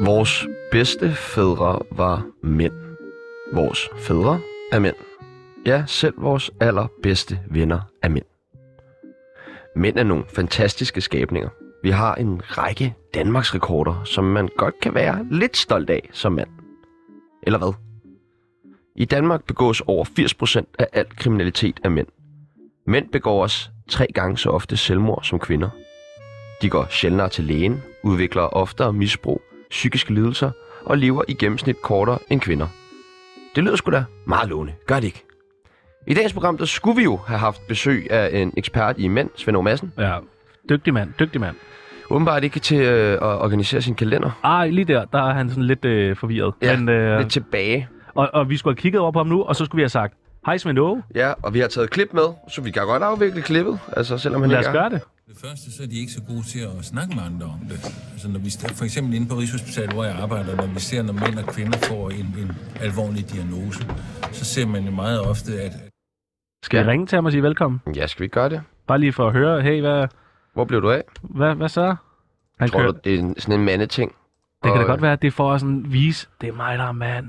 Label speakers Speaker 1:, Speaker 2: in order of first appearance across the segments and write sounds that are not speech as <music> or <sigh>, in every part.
Speaker 1: Vores bedste fædre var mænd. Vores fædre er mænd. Ja, selv vores allerbedste venner er mænd. Mænd er nogle fantastiske skabninger. Vi har en række Danmarks rekorder, som man godt kan være lidt stolt af som mand. Eller hvad? I Danmark begås over 80% af al kriminalitet af mænd. Mænd begår også tre gange så ofte selvmord som kvinder. De går sjældnere til lægen, udvikler oftere misbrug, psykiske lidelser og lever i gennemsnit kortere end kvinder. Det lyder sgu da meget lovende, gør det ikke? I dagens program, der skulle vi jo have haft besøg af en ekspert i mænd, Svend Aage Madsen.
Speaker 2: Ja, dygtig mand, dygtig mand.
Speaker 1: Åbenbart ikke til øh, at organisere sin kalender.
Speaker 2: Ej, lige der, der er han sådan lidt øh, forvirret.
Speaker 1: Ja,
Speaker 2: Men, øh,
Speaker 1: Lidt tilbage.
Speaker 2: og, og vi skulle have kigget over på ham nu, og så skulle vi have sagt, hej Svend Åge,
Speaker 1: Ja, og vi har taget klip med, så vi kan godt afvikle klippet, altså selvom han
Speaker 2: lad os
Speaker 1: ikke er.
Speaker 2: gøre det.
Speaker 3: Det første, så er de ikke så gode til at snakke med andre om det. Altså, når vi, for eksempel inde på Rigshospitalet, hvor jeg arbejder, når vi ser, når mænd og kvinder får en, en alvorlig diagnose, så ser man jo meget ofte, at
Speaker 2: Skal jeg ringe til ham og sige velkommen?
Speaker 1: Ja, skal vi ikke gøre det?
Speaker 2: Bare lige for at høre, hey, hvad,
Speaker 1: Hvor blev du af?
Speaker 2: hvad, hvad så? Han
Speaker 1: Tror
Speaker 2: kører,
Speaker 1: du, det er en- sådan en mandeting?
Speaker 2: det kan da
Speaker 1: Og,
Speaker 2: godt være, at det er for at sådan vise, det er mig, der er mand.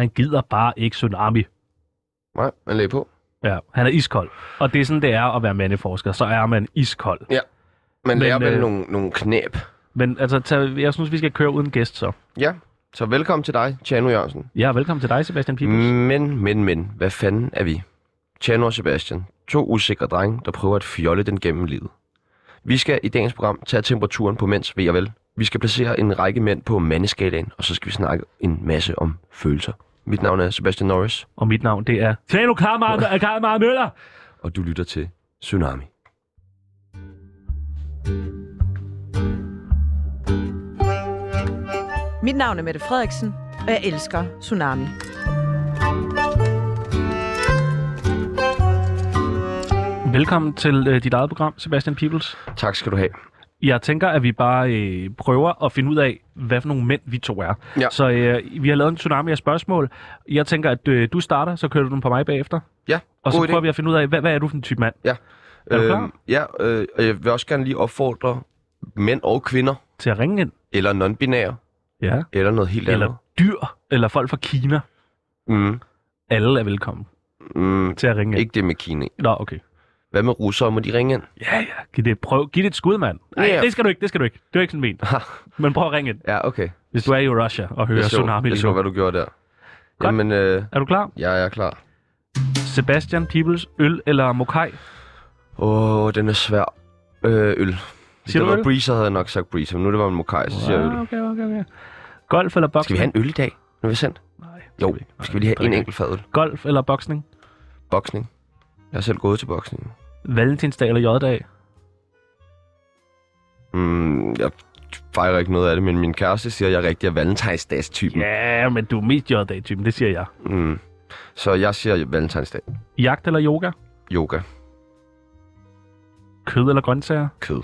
Speaker 2: Han gider bare ikke tsunami.
Speaker 1: Nej, man lagde på.
Speaker 2: Ja, han er iskold. Og det er sådan, det er at være mandeforsker. Så er man iskold.
Speaker 1: Man
Speaker 2: Men,
Speaker 1: lærer vel
Speaker 2: øh,
Speaker 1: nogle, nogle knæb.
Speaker 2: Men altså, tag, jeg synes, vi skal køre uden gæst så.
Speaker 1: Ja, så velkommen til dig, Tjano Jørgensen.
Speaker 2: Ja, velkommen til dig, Sebastian Pibels. Mm.
Speaker 1: Men, men, men, hvad fanden er vi? Tjano og Sebastian, to usikre drenge, der prøver at fjolle den gennem livet. Vi skal i dagens program tage temperaturen på mænds ved og vel. Vi skal placere en række mænd på mandeskalaen, og så skal vi snakke en masse om følelser. Mit navn er Sebastian Norris,
Speaker 2: Og mit navn, det er Tjano Karmar Karmar Møller.
Speaker 1: og du lytter til Tsunami.
Speaker 4: Mit navn er Mette Frederiksen, og jeg elsker Tsunami.
Speaker 2: Velkommen til øh, dit eget program, Sebastian Pibels.
Speaker 1: Tak skal du have.
Speaker 2: Jeg tænker, at vi bare øh, prøver at finde ud af, hvad for nogle mænd vi to er.
Speaker 1: Ja.
Speaker 2: Så øh, vi har lavet en tsunami af spørgsmål. Jeg tænker, at øh, du starter, så kører du den på mig bagefter.
Speaker 1: Ja,
Speaker 2: Og så
Speaker 1: god idé. Øhm,
Speaker 2: prøver vi at finde ud af, hvad, hvad er du for en type mand? Er du klar?
Speaker 1: ja, øh, og jeg vil også gerne lige opfordre mænd og kvinder,
Speaker 2: Til at ringe ind?
Speaker 1: eller non-binære,
Speaker 2: Ja.
Speaker 1: eller noget helt andet.
Speaker 2: Eller dyr? Eller folk fra Kina?
Speaker 1: Mm,
Speaker 2: Alle er velkommen
Speaker 1: mm,
Speaker 2: til at ringe ind.
Speaker 1: ikke det med Kina.
Speaker 2: Nå, okay.
Speaker 1: Hvad med russere? Må de ringe ind?
Speaker 2: Ja, ja. Giv det, et prøv. Giv det et skud, mand. Nej,
Speaker 1: Ja.
Speaker 2: det skal du ikke. Det skal du ikke. Det er ikke sådan ment.
Speaker 1: Ha,
Speaker 2: Men prøv at ringe ind,
Speaker 1: ja, okay.
Speaker 2: hvis du er i Russia og hører
Speaker 1: jeg så,
Speaker 2: tsunami
Speaker 1: jeg
Speaker 2: lige
Speaker 1: så,
Speaker 2: nu.
Speaker 1: hvad du gjorde der. Jamen, øh,
Speaker 2: Er du klar?
Speaker 1: ja, jeg er klar.
Speaker 2: Sebastian Peebles, øl eller mokai?
Speaker 1: Åh, oh, den er svær. Øh, øl. Hvis det
Speaker 2: Siger du
Speaker 1: var
Speaker 2: øl?
Speaker 1: Breezer, havde jeg nok sagt Breezer, men nu er det var en Mokai, så siger jeg
Speaker 2: Ah,
Speaker 1: øl.
Speaker 2: Okay, okay, okay. Golf eller boksning?
Speaker 1: Skal vi have en øl i dag? Nu er vi sendt.
Speaker 2: Nej.
Speaker 1: Jo,
Speaker 2: skal vi ikke.
Speaker 1: skal vi lige have en
Speaker 2: Nej.
Speaker 1: enkelt fadøl.
Speaker 2: Golf eller boksning?
Speaker 1: Boksning. Jeg er selv gået til boksning.
Speaker 2: Valentinsdag eller J-dag?
Speaker 1: Mm, jeg fejrer ikke noget af det, men min kæreste siger, at jeg er rigtig er valentinsdagstypen.
Speaker 2: Ja, men du er mest J-dag-typen, det siger jeg.
Speaker 1: Mm. Så jeg siger valentinsdag.
Speaker 2: Jagt eller yoga?
Speaker 1: Yoga.
Speaker 2: Kød eller grøntsager?
Speaker 1: Kød.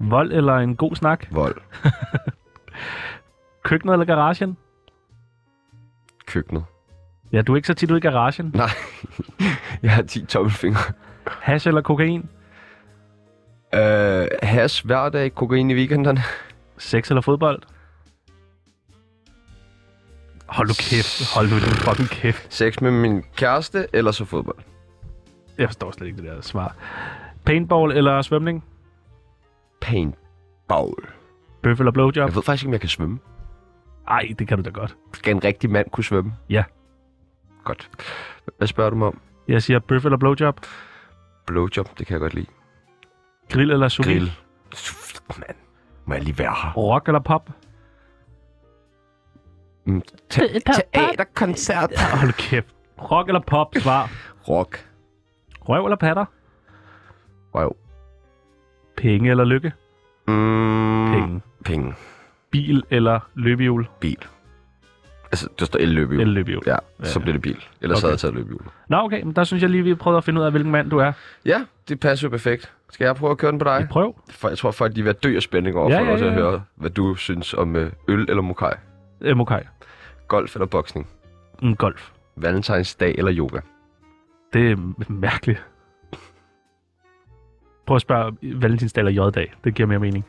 Speaker 2: Vold eller en god snak?
Speaker 1: Vold.
Speaker 2: Køkkenet eller garagen?
Speaker 1: Køkkenet.
Speaker 2: Ja, du er ikke så tit ude i garagen.
Speaker 1: Nej. <laughs> jeg har 10 tommelfingre.
Speaker 2: Hash eller kokain?
Speaker 1: Øh, hash hver dag, kokain i weekenderne. <laughs>
Speaker 2: Sex eller fodbold? Hold nu kæft. Hold nu din fucking kæft.
Speaker 1: Sex med min kæreste, eller så fodbold.
Speaker 2: Jeg forstår slet ikke det der svar. Paintball eller svømning?
Speaker 1: Paintball.
Speaker 2: Bøf eller blowjob?
Speaker 1: Jeg ved faktisk ikke, om jeg kan svømme.
Speaker 2: Ej, det kan du da godt.
Speaker 1: Skal en rigtig mand kunne svømme?
Speaker 2: Ja.
Speaker 1: Godt. Hvad spørger du mig om?
Speaker 2: Jeg siger bøf eller blowjob?
Speaker 1: Blowjob, det kan jeg godt lide.
Speaker 2: Grill eller sous vide?
Speaker 1: Grill. Suft, mand. Må jeg lige være her?
Speaker 2: Rock eller pop?
Speaker 1: Mm, ta- teaterkoncert.
Speaker 2: Hold kæft. Rock eller pop, svar.
Speaker 1: Rock.
Speaker 2: Røv eller patter?
Speaker 1: Røv.
Speaker 2: Penge eller lykke?
Speaker 1: Mm,
Speaker 2: Penge.
Speaker 1: Penge.
Speaker 2: Bil eller løbehjul?
Speaker 1: Bil. Altså, der står el-løbehjul.
Speaker 2: Eller løbehjul.
Speaker 1: Ja, så blev det bil. Ellers
Speaker 2: Okay.
Speaker 1: havde jeg taget løbehjul.
Speaker 2: Nå, okay, men der synes jeg lige, vi prøvede at finde ud af, hvilken mand du er.
Speaker 1: Ja, det passer jo perfekt. Skal jeg prøve at køre den på dig?
Speaker 2: Prøv.
Speaker 1: For jeg tror folk, de er ved at dø af spænding over
Speaker 2: Ja,
Speaker 1: for
Speaker 2: ja,
Speaker 1: ja, ja. at
Speaker 2: ja, ja.
Speaker 1: høre, hvad du synes om øh, øl eller mokai.
Speaker 2: Øh, Mokai.
Speaker 1: Golf eller boksning?
Speaker 2: Mm, golf.
Speaker 1: Valentinsdag eller yoga?
Speaker 2: Det er m- mærkeligt. Prøv at spørge Valentinsdag eller J-dag. Det giver mere mening.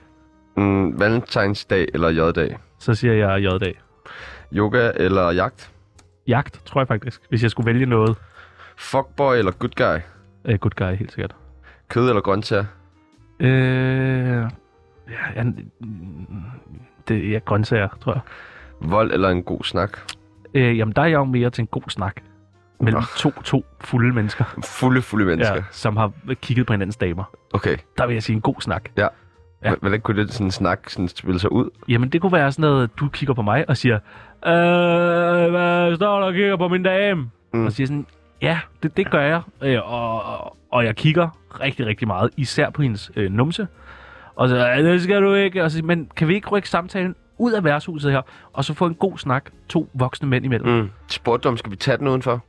Speaker 1: Mm, Valentinsdag eller J-dag?
Speaker 2: Så siger jeg J-dag.
Speaker 1: Yoga eller jagt?
Speaker 2: Jagt, tror jeg faktisk. Hvis jeg skulle vælge noget.
Speaker 1: Fuckboy eller good guy?
Speaker 2: Øh, good guy, helt sikkert.
Speaker 1: Kød eller grøntsager?
Speaker 2: Øh, ja, ja, det er ja, grøntsager, tror jeg.
Speaker 1: Vold eller en god snak?
Speaker 2: Øh, jamen, der er jeg jo mere til en god snak. Mellem to, to fulde mennesker,
Speaker 1: Fulde, fulde mennesker.
Speaker 2: ja, som har kigget på hinandens damer.
Speaker 1: Okay.
Speaker 2: Der vil jeg sige en god snak. Ja.
Speaker 1: Ja. Hvordan kunne det sådan snak sådan spille sig ud?
Speaker 2: Jamen, det kunne være sådan noget, du kigger på mig og siger, Øh, hvad står der og kigger på min dame?
Speaker 1: Mm.
Speaker 2: Mm. Og siger sådan, ja, det, det gør jeg. Øh, og, og, og jeg kigger rigtig, rigtig meget, især på hendes øh, numse. Og så, "Ja, det skal du ikke. Og så, siger, men kan vi ikke rykke samtalen ud af værtshuset her, og så få en god snak, to voksne mænd imellem? Mm.
Speaker 1: Mm. Spurgte du, om skal vi tage den udenfor?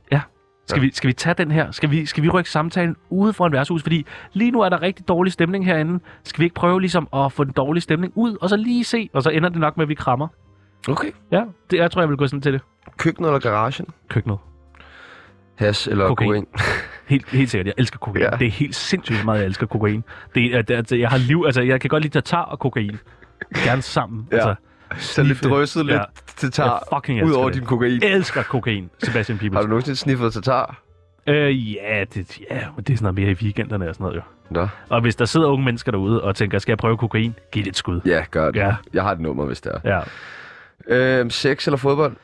Speaker 2: Skal, vi, skal vi tage den her? Skal vi, skal vi rykke samtalen ude for en værtshus? Fordi lige nu er der rigtig dårlig stemning herinde. Skal vi ikke prøve ligesom at få den dårlige stemning ud, og så lige se, og så ender det nok med, at vi krammer.
Speaker 1: Okay.
Speaker 2: Ja, det, jeg tror, jeg vil gå sådan til det.
Speaker 1: Køkkenet eller garagen?
Speaker 2: Køkkenet.
Speaker 1: Has eller
Speaker 2: Kokain.
Speaker 1: kokain?
Speaker 2: Helt, helt sikkert, jeg elsker kokain.
Speaker 1: Ja.
Speaker 2: Ja. Det er helt sindssygt meget, jeg elsker kokain. Det er, det, altså, jeg har liv, altså, jeg kan godt lide tatar og kokain. Gerne sammen.
Speaker 1: Ja.
Speaker 2: Altså,
Speaker 1: Så lidt
Speaker 2: sniffe.
Speaker 1: drøsset,
Speaker 2: Ja.
Speaker 1: lidt tatar,
Speaker 2: Jeg fucking
Speaker 1: ud over
Speaker 2: elsker
Speaker 1: din kokain.
Speaker 2: Jeg elsker kokain, Sebastian
Speaker 1: Har
Speaker 2: Pibels.
Speaker 1: du nogensinde sniffet tatar?
Speaker 2: Øh, ja, det, ja, men det er sådan noget mere i weekenderne og sådan noget, jo.
Speaker 1: Nå.
Speaker 2: Og hvis der sidder unge mennesker derude og tænker, skal jeg prøve kokain? Giv det et skud.
Speaker 1: Ja, gør det.
Speaker 2: Ja.
Speaker 1: Jeg har et nummer, hvis det er.
Speaker 2: Ja,
Speaker 1: Øhm, sex eller fodbold?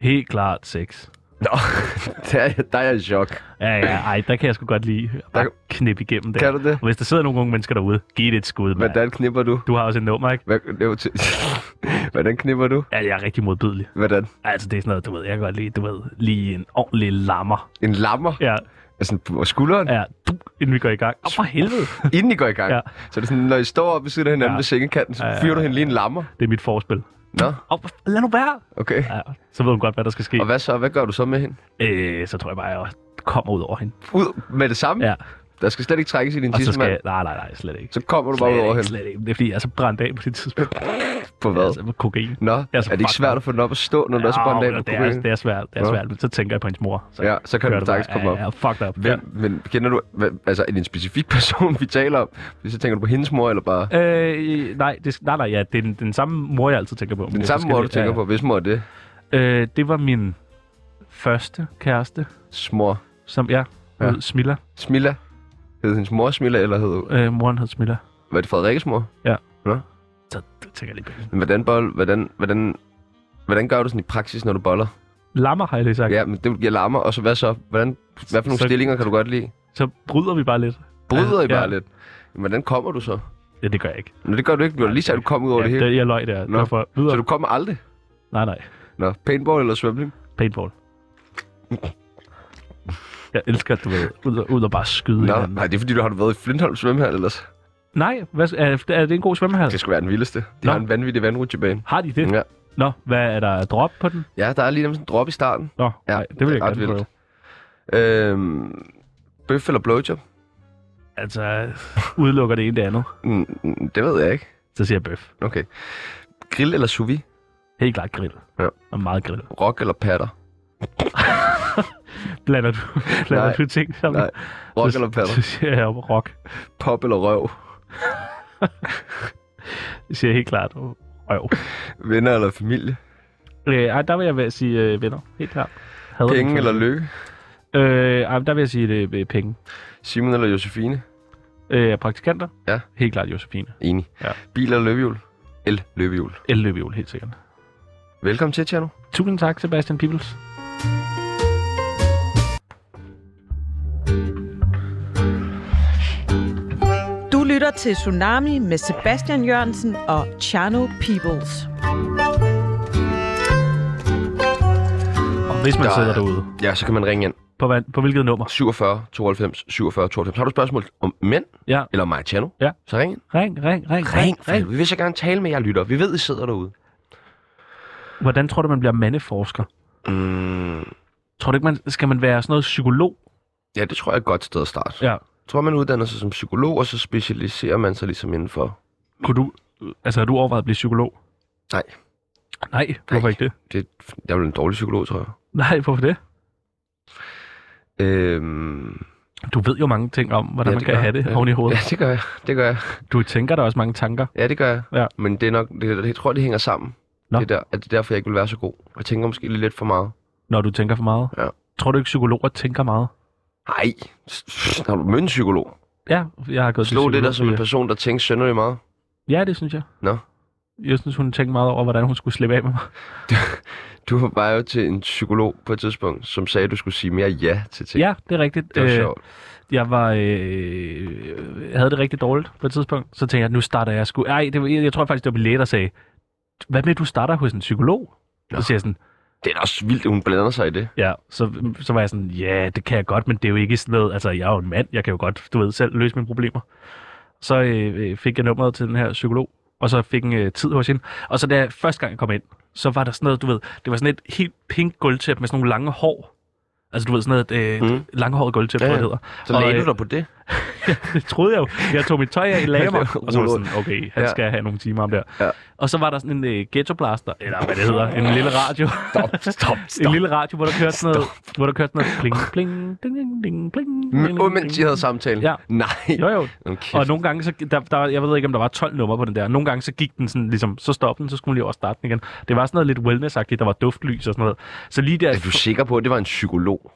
Speaker 2: helt klart sex.
Speaker 1: Nå, <laughs> der, er- der er jeg i chok.
Speaker 2: Ja,
Speaker 1: <clears throat>
Speaker 2: ja, ej, der kan jeg sgu godt lide
Speaker 1: Der-
Speaker 2: at knippe igennem det.
Speaker 1: Kan du det?
Speaker 2: Og hvis der sidder nogle unge mennesker derude, giv det et skud, mand.
Speaker 1: Hvordan knipper du?
Speaker 2: Du har også et nummer, ikke?
Speaker 1: Hvad, det var til- <laughs> Hvordan knipper du?
Speaker 2: Ja, jeg er rigtig modbydelig.
Speaker 1: Hvordan?
Speaker 2: Altså, det er sådan noget, du ved, jeg kan godt lide, du ved, lige en ordentlig lammer.
Speaker 1: En lammer?
Speaker 2: Ja,
Speaker 1: Altså på skulderen?
Speaker 2: ja, du, inden vi går i gang. Åh, for helvede.
Speaker 1: Inden I går i gang?
Speaker 2: Ja.
Speaker 1: Så det er sådan, når I står op ved siden af hinanden
Speaker 2: Ja.
Speaker 1: ved sengekanten, så fyrer du hende lige en lammer?
Speaker 2: <laughs> Det er mit forspil.
Speaker 1: Nå,
Speaker 2: Åh, hvor- lad nu være.
Speaker 1: okay.
Speaker 2: Ja, så ved hun godt, hvad der skal ske.
Speaker 1: Og hvad så? Hvad gør du så med hende?
Speaker 2: Øh, så tror jeg bare, jeg kommer ud over hende.
Speaker 1: Ud med det samme?
Speaker 2: Ja,
Speaker 1: Der skal slet ikke trækkes i din
Speaker 2: og så skal
Speaker 1: tissemand.
Speaker 2: jeg... Nej, nej, nej, slet ikke.
Speaker 1: Så kommer du bare ud
Speaker 2: Slet
Speaker 1: over hende.
Speaker 2: ikke, slet ikke. Det er fordi, jeg er så brændt af på det tidspunkt.
Speaker 1: På hvad?
Speaker 2: Altså, med kokain.
Speaker 1: Nå,
Speaker 2: er så
Speaker 1: er det ikke
Speaker 2: fucked
Speaker 1: svært
Speaker 2: up.
Speaker 1: at få den op at stå, når du er så brændt af
Speaker 2: men
Speaker 1: på
Speaker 2: det, er,
Speaker 1: kokain?
Speaker 2: det er svært, det er
Speaker 1: Nå.
Speaker 2: svært, men så tænker jeg på hendes mor. Så
Speaker 1: Ja, så kan du
Speaker 2: kører det
Speaker 1: sagtens
Speaker 2: bare.
Speaker 1: komme op.
Speaker 2: Ja, ja, fucked up.
Speaker 1: Hvem, men kender du, hvad, altså en specifik <laughs> person, vi taler om? Så tænker du på hendes mor, eller bare
Speaker 2: Ja. Øh, nej, det, nej, nej, ja, det er den, den samme mor, jeg altid tænker på.
Speaker 1: den samme mor, du tænker på? Hvis mor er det?
Speaker 2: Øh, det var min første kæreste,
Speaker 1: Smor.
Speaker 2: som jeg
Speaker 1: Ja.
Speaker 2: ja. hed Smilla.
Speaker 1: Smilla? Hed hendes mor Smilla, eller hed,
Speaker 2: Øh, moren hed Smilla.
Speaker 1: var det Frederikkes mor?
Speaker 2: Så det tænker jeg lige på. hende.
Speaker 1: Men Hvordan, bold, hvordan, hvordan, hvordan gør du sådan i praksis, når du boller?
Speaker 2: Lammer har jeg lige sagt.
Speaker 1: Ja, men det giver larmer, og så hvad så? Hvordan, hvad for nogle
Speaker 2: Så-
Speaker 1: stillinger kan du godt lide?
Speaker 2: Så bryder vi bare lidt.
Speaker 1: Bryder I bare
Speaker 2: Ja.
Speaker 1: lidt? Jamen, Hvordan kommer du så?
Speaker 2: Ja, det gør jeg ikke.
Speaker 1: Nå, det gør du ikke. Du har lige sagt, at du kom ud over
Speaker 2: ja,
Speaker 1: det hele.
Speaker 2: Jeg løg der.
Speaker 1: Nå.
Speaker 2: Nå. Derfor, videre.
Speaker 1: Så
Speaker 2: Du...
Speaker 1: du kommer aldrig?
Speaker 2: Nej, nej.
Speaker 1: Nå, paintball eller svømning?
Speaker 2: Paintball. Jeg elsker, at du ved, ud og, ud og bare skyde
Speaker 1: Nå,
Speaker 2: hinanden.
Speaker 1: nej, det er fordi, du har været i Flintholm svømmehal ellers.
Speaker 2: Nej, hvad, er, er det en god svømmehal?
Speaker 1: Det skulle være den vildeste. De
Speaker 2: Nå.
Speaker 1: har en vanvittig vandrutsjebane.
Speaker 2: Har de det?
Speaker 1: Ja.
Speaker 2: Nå, hvad er der drop på den?
Speaker 1: Ja, der er lige nemlig sådan en drop i starten.
Speaker 2: Nå,
Speaker 1: Ja,
Speaker 2: ja, nej, det vil
Speaker 1: det er
Speaker 2: jeg
Speaker 1: ret
Speaker 2: gerne
Speaker 1: vildt.
Speaker 2: prøve.
Speaker 1: Øhm, bøf eller blowjob?
Speaker 2: Altså, udelukker det ene det andet,
Speaker 1: Mm, mm, det ved jeg ikke.
Speaker 2: så siger jeg bøf.
Speaker 1: Okay. Grill eller sous vide?
Speaker 2: Helt klart grill.
Speaker 1: Ja.
Speaker 2: Og meget grill.
Speaker 1: Rock eller patter?
Speaker 2: Blander du, <laughs> blander
Speaker 1: Nej.
Speaker 2: du ting sammen?
Speaker 1: Nej. Rock
Speaker 2: så,
Speaker 1: eller
Speaker 2: Så <laughs>
Speaker 1: patter?
Speaker 2: siger jeg rock.
Speaker 1: Pop eller røv?
Speaker 2: Det siger jeg helt klart røv.
Speaker 1: Venner eller familie?
Speaker 2: Øh, ej, der vil jeg være- sige øh, venner. Helt klart. Hader
Speaker 1: Penge
Speaker 2: dem.
Speaker 1: eller lykke?
Speaker 2: Øh, ej, men der vil jeg sige det, øh, penge.
Speaker 1: Simon eller Josefine?
Speaker 2: Øh, praktikanter?
Speaker 1: Ja.
Speaker 2: Helt klart Josefine.
Speaker 1: Enig.
Speaker 2: Ja.
Speaker 1: Bil eller løbehjul? El løbehjul.
Speaker 2: Elløbehjul, helt sikkert.
Speaker 1: Velkommen til, Tjerno.
Speaker 2: Tusind tak, Sebastian Pibels.
Speaker 4: Du lytter til Tsunami med Sebastian Jørgensen og Chano Peoples.
Speaker 2: Og hvis man
Speaker 1: Der-
Speaker 2: sidder derude,
Speaker 1: Ja, så kan man ringe ind.
Speaker 2: på, hvad, på hvilket nummer?
Speaker 1: 47 92 47 92. Har du et spørgsmål om mænd?
Speaker 2: Ja.
Speaker 1: Eller om mig, Tjerno?
Speaker 2: Ja.
Speaker 1: Så ring ind.
Speaker 2: Ring, ring, ring,
Speaker 1: Ring,
Speaker 2: ring, ring.
Speaker 1: Vi vil så gerne tale med jer lytter. Vi ved, I sidder derude.
Speaker 2: Hvordan tror du, man bliver mandeforsker?
Speaker 1: Mm,
Speaker 2: Tror du ikke, man, skal man være sådan noget psykolog?
Speaker 1: ja, det tror jeg er et godt sted at starte.
Speaker 2: Ja.
Speaker 1: Jeg tror, man uddanner sig som psykolog, og så specialiserer man sig ligesom indenfor.
Speaker 2: Kunne du, altså, har du overvejet at blive psykolog?
Speaker 1: Nej.
Speaker 2: Nej, hvorfor
Speaker 1: Nej.
Speaker 2: ikke det?
Speaker 1: Det, jeg er vel en dårlig psykolog, tror jeg.
Speaker 2: Nej, hvorfor det?
Speaker 1: Øhm,
Speaker 2: Du ved jo mange ting om,
Speaker 1: ja,
Speaker 2: hvordan ja, man
Speaker 1: det
Speaker 2: kan
Speaker 1: gør jeg.
Speaker 2: have det
Speaker 1: ja.
Speaker 2: oven i hovedet.
Speaker 1: Ja, det gør jeg. Det gør jeg.
Speaker 2: Du tænker dig også mange tanker.
Speaker 1: Ja, det gør jeg.
Speaker 2: Ja.
Speaker 1: Men det er nok, det, jeg tror, det hænger sammen.
Speaker 2: Nå.
Speaker 1: Det, er der, at det er derfor, jeg ikke vil være så god. Jeg tænker måske lige lidt for meget.
Speaker 2: Når du tænker for meget?
Speaker 1: Ja.
Speaker 2: Tror du ikke, psykologer tænker meget?
Speaker 1: Nej, når du mødte en psykolog.
Speaker 2: Ja, jeg har gået
Speaker 1: Slå
Speaker 2: til
Speaker 1: det der
Speaker 2: psykolog,
Speaker 1: som en
Speaker 2: fordi-
Speaker 1: person, der tænker sønderlig meget.
Speaker 2: Ja, det synes jeg.
Speaker 1: Nå.
Speaker 2: Jeg synes, hun tænkte meget over, hvordan hun skulle slippe af med mig.
Speaker 1: Du var jo til en psykolog på et tidspunkt, som sagde, at du skulle sige mere ja til ting.
Speaker 2: Ja, det er rigtigt.
Speaker 1: Det var
Speaker 2: Øh,
Speaker 1: sjovt.
Speaker 2: Jeg var, øh, jeg havde det rigtig dårligt på et tidspunkt. Så tænkte jeg, nu starter jeg sgu. Ej, det var, jeg tror faktisk, det var min læge, der sagde, hvad med, at du starter hos en psykolog?
Speaker 1: Nå.
Speaker 2: Så siger jeg sådan,
Speaker 1: Det er da også vildt, at hun blander sig i det.
Speaker 2: ja, så, så var jeg sådan, ja, det kan jeg godt, men det er jo ikke sådan noget, altså jeg er jo en mand, jeg kan jo godt, du ved, selv løse mine problemer. Så øh, øh, fik jeg nummeret til den her psykolog, og så fik en øh, tid hos hende. Og så da jeg, første gang jeg kom ind, så var der sådan noget, du ved, det var sådan et helt pink gulvtæp med sådan nogle lange hår. Altså du ved, sådan noget øh,
Speaker 1: Mm.
Speaker 2: mm. langhåret gulvtæp,
Speaker 1: Ja,
Speaker 2: ja,
Speaker 1: ja.
Speaker 2: ja. det hedder.
Speaker 1: Så lagde
Speaker 2: øh,
Speaker 1: du dig på det.
Speaker 2: det troede jeg jo. Jeg tog mit tøj af i
Speaker 1: <laughs>
Speaker 2: lagde mig, og så var
Speaker 1: Ruller.
Speaker 2: jeg sådan, okay, han
Speaker 1: Ja.
Speaker 2: skal have nogle timer om der.
Speaker 1: Ja.
Speaker 2: Og så var der sådan en øh, ghettoblaster, eller hvad det hedder, en lille radio. Stop, stop, stop. <laughs> en lille radio, hvor der kørte sådan noget, hvor der kørte sådan noget pling, pling, ding, ding, ding, pling, ding,
Speaker 1: Men,
Speaker 2: ding,
Speaker 1: oh, mens I
Speaker 2: ding.
Speaker 1: havde samtalen?
Speaker 2: Mm. Ja.
Speaker 1: Nej.
Speaker 2: Jo, jo.
Speaker 1: Nå, kæft.
Speaker 2: Og nogle gange, så, der, der, jeg ved ikke, om der var 12 numre på den der. Nogle gange, så gik den sådan, ligesom, så stoppede den, så skulle man lige over starte den igen. Det var sådan noget lidt wellness -agtigt. der var duftlys og sådan noget. Så lige der,
Speaker 1: Er du sikker på, at det var en psykolog?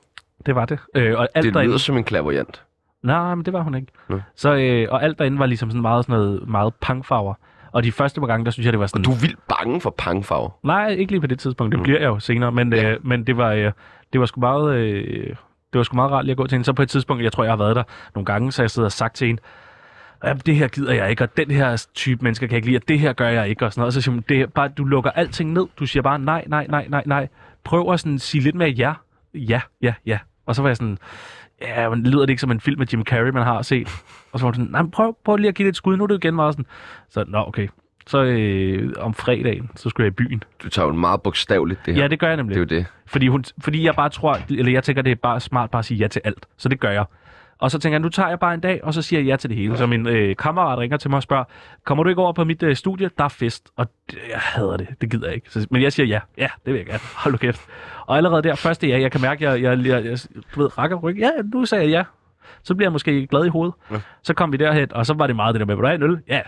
Speaker 2: det var det. Øh, og alt
Speaker 1: det
Speaker 2: derinde-
Speaker 1: lyder som en klaverjant.
Speaker 2: Nej, men det var hun ikke.
Speaker 1: Nå.
Speaker 2: Så, øh, og alt derinde var ligesom sådan meget, sådan noget, meget pangfarver. Og de første par gange, der synes jeg, det var sådan...
Speaker 1: Du er vildt bange for pangfarver.
Speaker 2: Nej, ikke lige på det tidspunkt. Det bliver jeg jo senere. Men,
Speaker 1: Ja.
Speaker 2: ja. øh, men det var, øh, det var sgu meget... Øh, det var sgu meget rart lige at gå til hende. Så på et tidspunkt, jeg tror, jeg har været der nogle gange, så jeg sidder og sagt til hende, Jamen, det her gider jeg ikke, og den her type mennesker kan jeg ikke lide, og det her gør jeg ikke, og sådan noget. Og så siger hun, det er bare, du lukker alting ned. Du siger bare nej, nej, nej, nej, nej. Prøv at sådan sige lidt mere ja. Ja, ja, ja. Og så var jeg sådan, ja, men lyder det ikke som en film med Jim Carrey, man har set? Og så var hun sådan, nej, men prøv, prøv lige at give det et skud. Nu er det jo igen meget sådan, så nå, okay. Så øh, om fredagen, så skulle jeg i byen.
Speaker 1: Du tager jo meget bogstaveligt det her.
Speaker 2: Ja, det gør jeg
Speaker 1: det
Speaker 2: nemlig.
Speaker 1: er jo det.
Speaker 2: Fordi, hun, fordi jeg bare tror, eller jeg tænker, det er bare smart bare at sige ja til alt. Så det gør jeg. Og så tænker jeg, nu tager jeg bare en dag, og så siger jeg ja til det hele. Så min øh, kammerat ringer til mig og spørger, kommer du ikke over på mit øh, studie? Der er fest. Og det, jeg hader det. Det gider jeg ikke. Så, men jeg siger ja. Ja, det vil jeg gerne. Hold nu kæft. Og allerede der, første ja, jeg kan mærke, jeg, jeg, jeg, jeg du ved, rakker ryg. Ja, nu sagde jeg ja. Så bliver jeg måske glad i hovedet.
Speaker 1: Ja.
Speaker 2: Ja. Så kom vi derhen, og så var det meget det der med, vil du have en øl? Ja.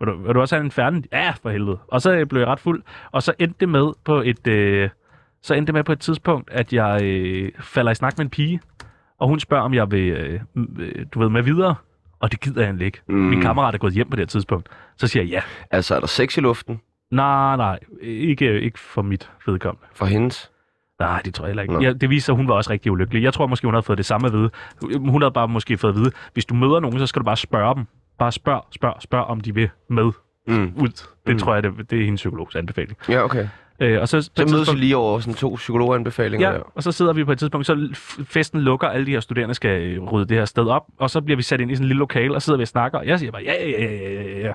Speaker 2: Vil du, vil du også have en færden? Ja, for helvede. Og så øh, blev jeg ret fuld. Og så endte det med på et... Øh, så endte det med på et tidspunkt, at jeg øh, falder i snak med en pige, og hun spørger, om jeg vil, øh, m- øh, du ved, med videre. Og det gider jeg egentlig ikke. Mm. Min kammerat er gået hjem på det her tidspunkt. Så siger jeg ja.
Speaker 1: Altså, er der sex i luften
Speaker 2: Nej, nej, ikke, øh, ikke for mit vedkommende.
Speaker 1: for hendes?
Speaker 2: Nej, det tror jeg heller
Speaker 1: Nå.
Speaker 2: ikke. Ja, det viser sig, at hun var også rigtig ulykkelig. Jeg tror måske, hun havde fået det samme at vide. Hun havde bare måske fået at vide, hvis du møder nogen, så skal du bare spørge dem. Bare spørg, spørg, spørg, om de vil med
Speaker 1: Mm.
Speaker 2: ud. Det
Speaker 1: Mm.
Speaker 2: mm. tror jeg, det, det er hendes psykologs anbefaling.
Speaker 1: Ja, okay.
Speaker 2: Øh, og så, på et
Speaker 1: Så mødes
Speaker 2: tidspunkt-
Speaker 1: vi lige over sådan to psykologanbefalinger.
Speaker 2: Ja,
Speaker 1: der.
Speaker 2: og så sidder vi på et tidspunkt, så f- festen lukker, alle de her studerende skal øh, rydde det her sted op, og så bliver vi sat ind i sådan en lille lokale, og sidder vi og snakker, og jeg siger bare, ja, ja, ja, ja, ja, ja.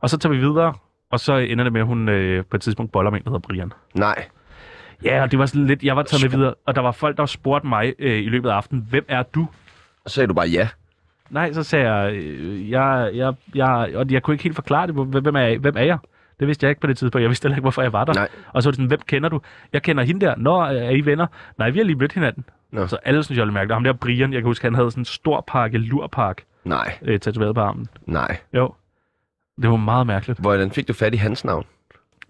Speaker 2: Og så tager vi videre, og så ender det med, at hun øh, på et tidspunkt boller med en, der hedder Brian.
Speaker 1: Nej.
Speaker 2: Ja, og det var sådan lidt, jeg var taget med videre, og der var folk, der spurgte mig øh, i løbet af aftenen, hvem er du?
Speaker 1: Så sagde du bare ja.
Speaker 2: Nej, så sagde jeg, øh, jeg, jeg, jeg, og jeg kunne ikke helt forklare det, hvor- hvem er jeg? Hvem er jeg? Det vidste jeg ikke på det tidspunkt. Jeg vidste heller ikke, hvorfor jeg var der.
Speaker 1: Nej.
Speaker 2: Og så var det sådan, hvem kender du? Jeg kender hende der. Nå, er I venner? Nej, vi har lige mødt hinanden.
Speaker 1: Nå.
Speaker 2: Så alle synes, jeg var mærkeligt. Og Ham der Brian, jeg kan huske, han havde sådan en stor pakke, lurpakke,
Speaker 1: Nej.
Speaker 2: øh, tatoveret på armen.
Speaker 1: Nej.
Speaker 2: Jo. Det var meget mærkeligt.
Speaker 1: Hvordan fik du fat i hans navn?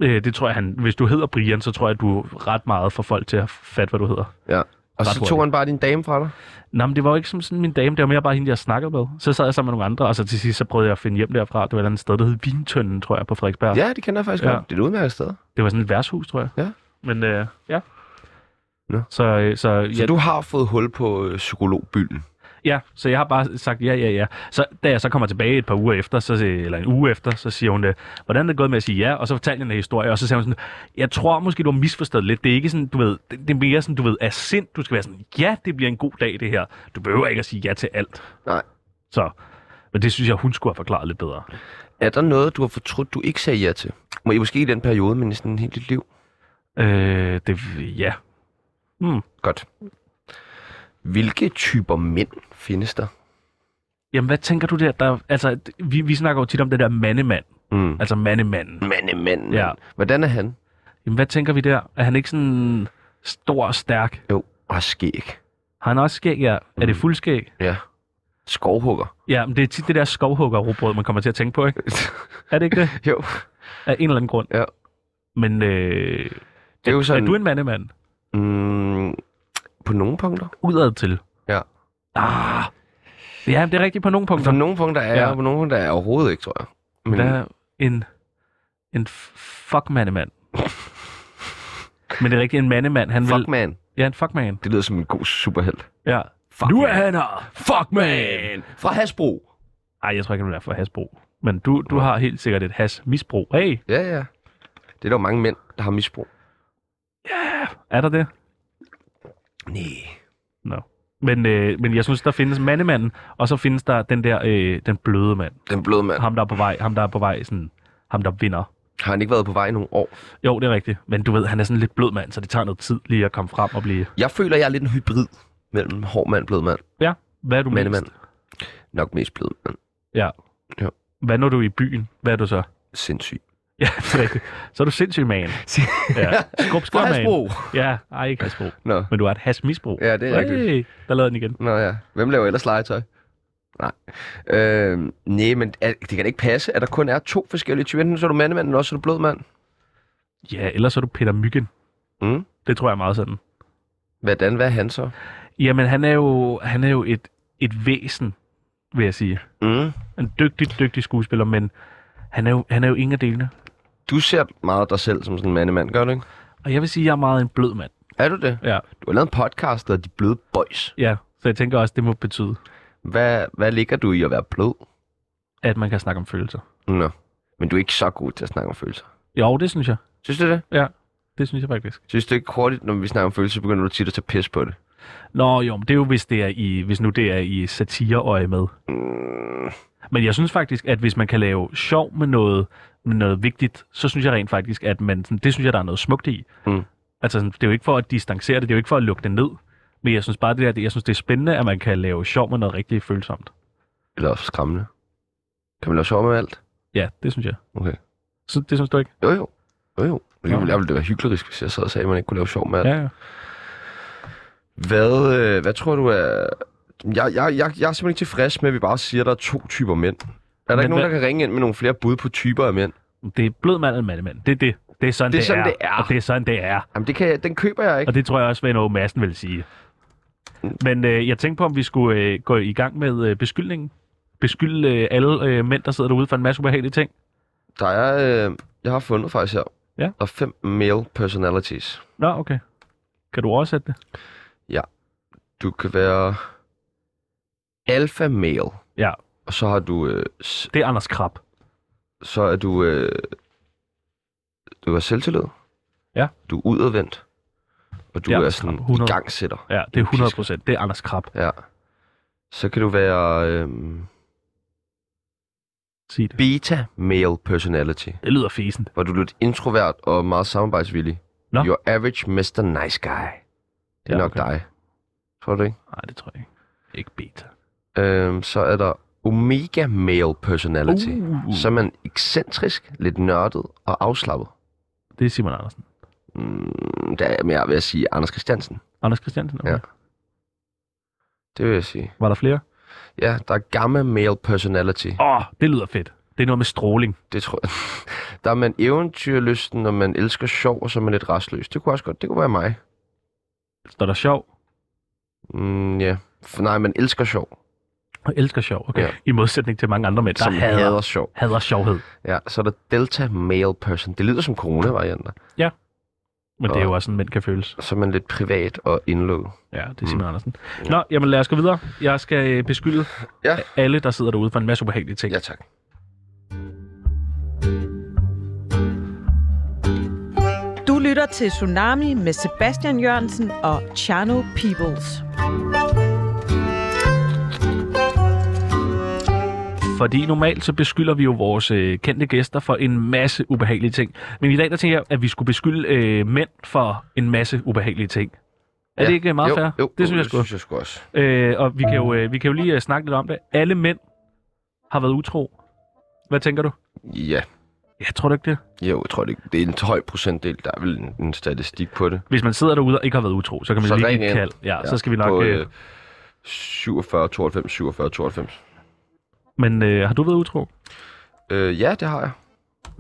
Speaker 2: Øh, det tror jeg, han, hvis du hedder Brian, så tror jeg, du er ret meget for folk til at fatte, hvad du hedder.
Speaker 1: Ja. Og
Speaker 2: Ret
Speaker 1: så tog
Speaker 2: hurtigt.
Speaker 1: han bare din dame fra dig?
Speaker 2: Nå, men det var jo ikke som sådan min dame, det var mere bare hende, jeg snakkede med. Så sad jeg sammen med nogle andre, og så til sidst så prøvede jeg at finde hjem derfra. Det var et eller andet sted, der hed Vintønden, tror jeg, på Frederiksberg.
Speaker 1: Ja, det kender jeg faktisk
Speaker 2: Ja.
Speaker 1: godt. Det er et udmærket sted.
Speaker 2: Det var sådan et værtshus, tror jeg.
Speaker 1: Ja.
Speaker 2: Men øh, ja.
Speaker 1: Nå.
Speaker 2: Så, øh, så,
Speaker 1: Så
Speaker 2: ja,
Speaker 1: du har fået hul på øh, psykologbylden.
Speaker 2: ja, så jeg har bare sagt ja, ja, ja. Så da jeg så kommer tilbage et par uger efter, så, øh, eller en uge efter, så siger hun, øh, hvordan er det gået med at sige ja? Og så fortalte jeg en historie, og så sagde hun sådan, jeg tror måske, du har misforstået lidt. Det er ikke sådan, du ved, det, det er mere sådan, du ved, af sind. Du skal være sådan, ja, det bliver en god dag, det her. Du behøver ikke at sige ja til alt.
Speaker 1: Nej.
Speaker 2: Så, men det synes jeg, hun skulle have forklaret lidt bedre.
Speaker 1: Er der noget, du har fortrudt, du ikke sagde ja til? Må I måske i den periode, men i sådan hele dit liv?
Speaker 2: Øh, det, ja. Hmm.
Speaker 1: Godt. Hvilke typer mænd findes der?
Speaker 2: Jamen, hvad tænker du der? der altså, vi, vi snakker jo tit om det der mandemand.
Speaker 1: Mm.
Speaker 2: Altså mandemanden.
Speaker 1: Mandemanden.
Speaker 2: Ja.
Speaker 1: Hvordan er han?
Speaker 2: Jamen, hvad tænker vi der? Er han ikke sådan stor og stærk?
Speaker 1: Jo, og skæg.
Speaker 2: Har han også skæg, ja? Er det fuld skæg?
Speaker 1: Ja. Skovhugger.
Speaker 2: Ja, men det er tit det der skovhugger man kommer til at tænke
Speaker 1: <laughs>
Speaker 2: på, ikke? Er det ikke det?
Speaker 1: jo.
Speaker 2: Af en eller anden grund.
Speaker 1: Ja.
Speaker 2: Men øh,
Speaker 1: Det er jo sådan...
Speaker 2: er du en mandemand?
Speaker 1: Mm, på nogle punkter.
Speaker 2: Udad til.
Speaker 1: Ja.
Speaker 2: Ah. Ja, det er rigtigt på nogle punkter.
Speaker 1: På nogle punkter er
Speaker 2: Ja.
Speaker 1: ja. jeg, på nogle punkter er jeg overhovedet ikke, tror jeg. Men
Speaker 2: Der er en, en fuck mandemand. Men det er rigtigt, en mandemand, han
Speaker 1: fuck
Speaker 2: vil...
Speaker 1: man,
Speaker 2: Ja, en fuck man.
Speaker 1: det lyder som en god superhelt.
Speaker 2: Ja.
Speaker 1: Fuck
Speaker 2: nu er
Speaker 1: man.
Speaker 2: han her! Fuck man!
Speaker 1: Fra Hasbro.
Speaker 2: Ej, jeg tror ikke, han vil være for hasbrug. Men du, du har helt sikkert et hasmisbrug. Hey,
Speaker 1: Ja, ja. Det er der jo mange mænd, der har misbrug.
Speaker 2: er der det?
Speaker 1: Nej.
Speaker 2: No. Men, øh, men jeg synes, der findes mandemanden, og så findes der den der, øh, den bløde mand.
Speaker 1: Den bløde mand.
Speaker 2: Ham, der er på vej, ham, der er på vej, sådan, ham, der vinder.
Speaker 1: Har han ikke været på vej i nogle år?
Speaker 2: Jo, det er rigtigt. Men du ved, han er sådan lidt blød mand, så det tager noget tid lige at komme frem og blive...
Speaker 1: Jeg føler, jeg er lidt en hybrid mellem hård mand og blød mand.
Speaker 2: Ja, hvad er du
Speaker 1: Mandemand.
Speaker 2: mest?
Speaker 1: Nok mest blød mand.
Speaker 2: Ja.
Speaker 1: Ja.
Speaker 2: Hvad når du er i byen? Hvad er du så? <laughs>
Speaker 1: Sindssyg.
Speaker 2: Ja, det er rigtigt. Så er du sindssyg
Speaker 1: <laughs>
Speaker 2: man. Ja. Skub, skub,
Speaker 1: Fra
Speaker 2: man.
Speaker 1: Hasbro.
Speaker 2: Ja, ej, ikke hasbro.
Speaker 1: Nå.
Speaker 2: Men du har et hasmisbrug.
Speaker 1: Ja, det er rigtigt.
Speaker 2: Hey, der lavede den igen.
Speaker 1: Nå ja. Hvem laver ellers legetøj? Nej. Øh, nej, men er, det kan da ikke passe, at der kun er to forskellige typer. Enten så er du mandemand, eller også er du blød mand.
Speaker 2: Ja, ellers er du Peter Myggen.
Speaker 1: Mm.
Speaker 2: Det tror jeg er meget sådan.
Speaker 1: Hvordan, hvad er han så?
Speaker 2: Jamen, han er jo, han er jo et, et væsen, vil jeg sige.
Speaker 1: Mm.
Speaker 2: En dygtig, dygtig skuespiller, men han er jo, han er jo ingen af delene.
Speaker 1: Du ser meget dig selv som sådan en mandemand, gør du ikke?
Speaker 2: Og jeg vil sige, at jeg er meget en blød mand.
Speaker 1: Er du det?
Speaker 2: Ja,
Speaker 1: Du har lavet en podcast, der hedder De Bløde Boys.
Speaker 2: ja. Så jeg tænker også, det må betyde,
Speaker 1: Hvad, hvad ligger du i at være blød?
Speaker 2: at man kan snakke om følelser.
Speaker 1: Nå. Men du er ikke så god til at snakke om følelser.
Speaker 2: Jo, det synes jeg.
Speaker 1: Synes du det?
Speaker 2: Ja, det synes jeg faktisk.
Speaker 1: Synes du ikke hurtigt, når vi snakker om følelser, begynder du tit at tage pis på det?
Speaker 2: Nå, jo, men det er jo, hvis, det er i, hvis nu det er i satireøje med.
Speaker 1: Mm.
Speaker 2: Men jeg synes faktisk, at hvis man kan lave sjov med noget, med noget vigtigt, så synes jeg rent faktisk, at man, sådan, det synes jeg, der er noget smukt i.
Speaker 1: Mm.
Speaker 2: Altså, sådan, det er jo ikke for at distancere det, det er jo ikke for at lukke det ned. Men jeg synes bare, det, der, det- jeg synes, det er spændende, at man kan lave sjov med noget rigtig følsomt.
Speaker 1: Eller også skræmmende. Kan man lave sjov med alt?
Speaker 2: Ja, det synes jeg.
Speaker 1: Okay.
Speaker 2: Så, det synes du ikke?
Speaker 1: Jo, jo. Jo, jo. Men
Speaker 2: Nå.
Speaker 1: det ville, jeg ville det være hyklerisk, hvis jeg sad og sagde, at man ikke kunne lave sjov med alt.
Speaker 2: Ja, ja.
Speaker 1: Hvad, øh, hvad tror du er... Jeg, jeg, jeg, jeg er simpelthen ikke tilfreds med, at vi bare siger, at der er to typer mænd. Er der
Speaker 2: Men
Speaker 1: ikke nogen,
Speaker 2: hvad-
Speaker 1: der kan ringe ind med nogle flere bud på typer af mænd?
Speaker 2: Det er blød mand eller mandemand. Det er det. Det er sådan, det er.
Speaker 1: sådan, det er.
Speaker 2: Og det er sådan, det er.
Speaker 1: Jamen, det kan, jeg- den køber jeg ikke.
Speaker 2: Og det tror jeg også, Svend Aage Madsen vil sige. Men øh, jeg tænkte på, om vi skulle øh, gå i gang med øh, beskyldningen. Beskyld øh, alle øh, mænd, der sidder derude for en masse ubehagelige ting.
Speaker 1: Der er... Øh, jeg har fundet faktisk her.
Speaker 2: Ja.
Speaker 1: Der er fem male personalities.
Speaker 2: Nå, okay. Kan du oversætte det?
Speaker 1: Du kan være... Alpha male.
Speaker 2: Ja.
Speaker 1: Og så har du... Øh, s-
Speaker 2: Det er Anders Krab.
Speaker 1: så er du... Øh, du har selvtillid.
Speaker 2: Ja.
Speaker 1: Du er udadvendt. Og du
Speaker 2: Ja,
Speaker 1: er
Speaker 2: skrab,
Speaker 1: sådan
Speaker 2: 100.
Speaker 1: igangsætter.
Speaker 2: Ja, det er 100 procent. Det er Anders Krab.
Speaker 1: Ja. Så kan du være... Øh,
Speaker 2: Sig det.
Speaker 1: beta male personality,
Speaker 2: Det lyder fesen.
Speaker 1: hvor du er lidt introvert og meget samarbejdsvillig.
Speaker 2: Nå.
Speaker 1: Your average Mr. Nice Guy. Det er
Speaker 2: Ja,
Speaker 1: ja, nok
Speaker 2: okay.
Speaker 1: okay. dig. Tror du ikke?
Speaker 2: Nej, det tror jeg ikke. Ikke beta.
Speaker 1: Øhm, så er der omega male personality.
Speaker 2: Uh.
Speaker 1: Så er man ekscentrisk, lidt nørdet og afslappet.
Speaker 2: Det er Simon Andersen.
Speaker 1: Mm, der er mere ved at sige Anders Christiansen.
Speaker 2: Anders Christiansen? Okay. Ja.
Speaker 1: Ja. Det vil jeg sige.
Speaker 2: Var der flere?
Speaker 1: Ja, der er gamma male personality.
Speaker 2: Åh, oh, det lyder fedt. Det er noget med stråling.
Speaker 1: Det tror jeg. <laughs> Der er man eventyrlysten, og man elsker sjov, og så er man lidt restløs. Det kunne også godt, det kunne være mig.
Speaker 2: Står der sjov?
Speaker 1: Mm, ja. For, nej, man elsker sjov.
Speaker 2: Og elsker sjov, okay. Ja.
Speaker 1: Ja.
Speaker 2: I modsætning til mange andre mænd, der
Speaker 1: som
Speaker 2: hader,
Speaker 1: hader sjov.
Speaker 2: hader sjovhed.
Speaker 1: Ja, så er der Delta Male Person. Det lyder som coronavarianter.
Speaker 2: Men det er
Speaker 1: Og-
Speaker 2: jo også sådan, mænd kan føles.
Speaker 1: Så er man lidt privat og indlukket.
Speaker 2: Ja, det er Simon mm. Andersen. Nå, jamen lad os gå videre. Jeg skal øh, beskylde ja.
Speaker 1: Ja.
Speaker 2: alle, der sidder derude for en masse ubehagelige ting.
Speaker 1: Ja, tak.
Speaker 4: Du lytter til Tsunami med Sebastian Jørgensen og Chano Peoples.
Speaker 2: Fordi normalt så beskylder vi jo vores øh, kendte gæster for en masse ubehagelige ting. Men i dag der tænker jeg, at vi skulle beskylde øh, mænd for en masse ubehagelige ting. Er
Speaker 1: ja.
Speaker 2: det ikke meget
Speaker 1: jo,
Speaker 2: fair?
Speaker 1: Jo,
Speaker 2: det synes jeg
Speaker 1: det
Speaker 2: sgu.
Speaker 1: synes jeg sgu også.
Speaker 2: Øh, og vi kan, jo, øh, vi kan jo lige øh, snakke lidt om det. Alle mænd har været utro. Hvad tænker du?
Speaker 1: Ja.
Speaker 2: Jeg tror du ikke det.
Speaker 1: Jo, jeg tror, det, det er en høj procentdel. Der er vel en, en statistik på det.
Speaker 2: Hvis man sidder derude og ikke har været utro, så kan man
Speaker 1: Så
Speaker 2: så lige
Speaker 1: ring
Speaker 2: give et
Speaker 1: ind.
Speaker 2: kald. Ja, ja, så skal vi nok...
Speaker 1: På,
Speaker 2: øh,
Speaker 1: øh, 47, 92, 47, 92.
Speaker 2: Men øh, har du været utro?
Speaker 1: Øh, ja, det har jeg.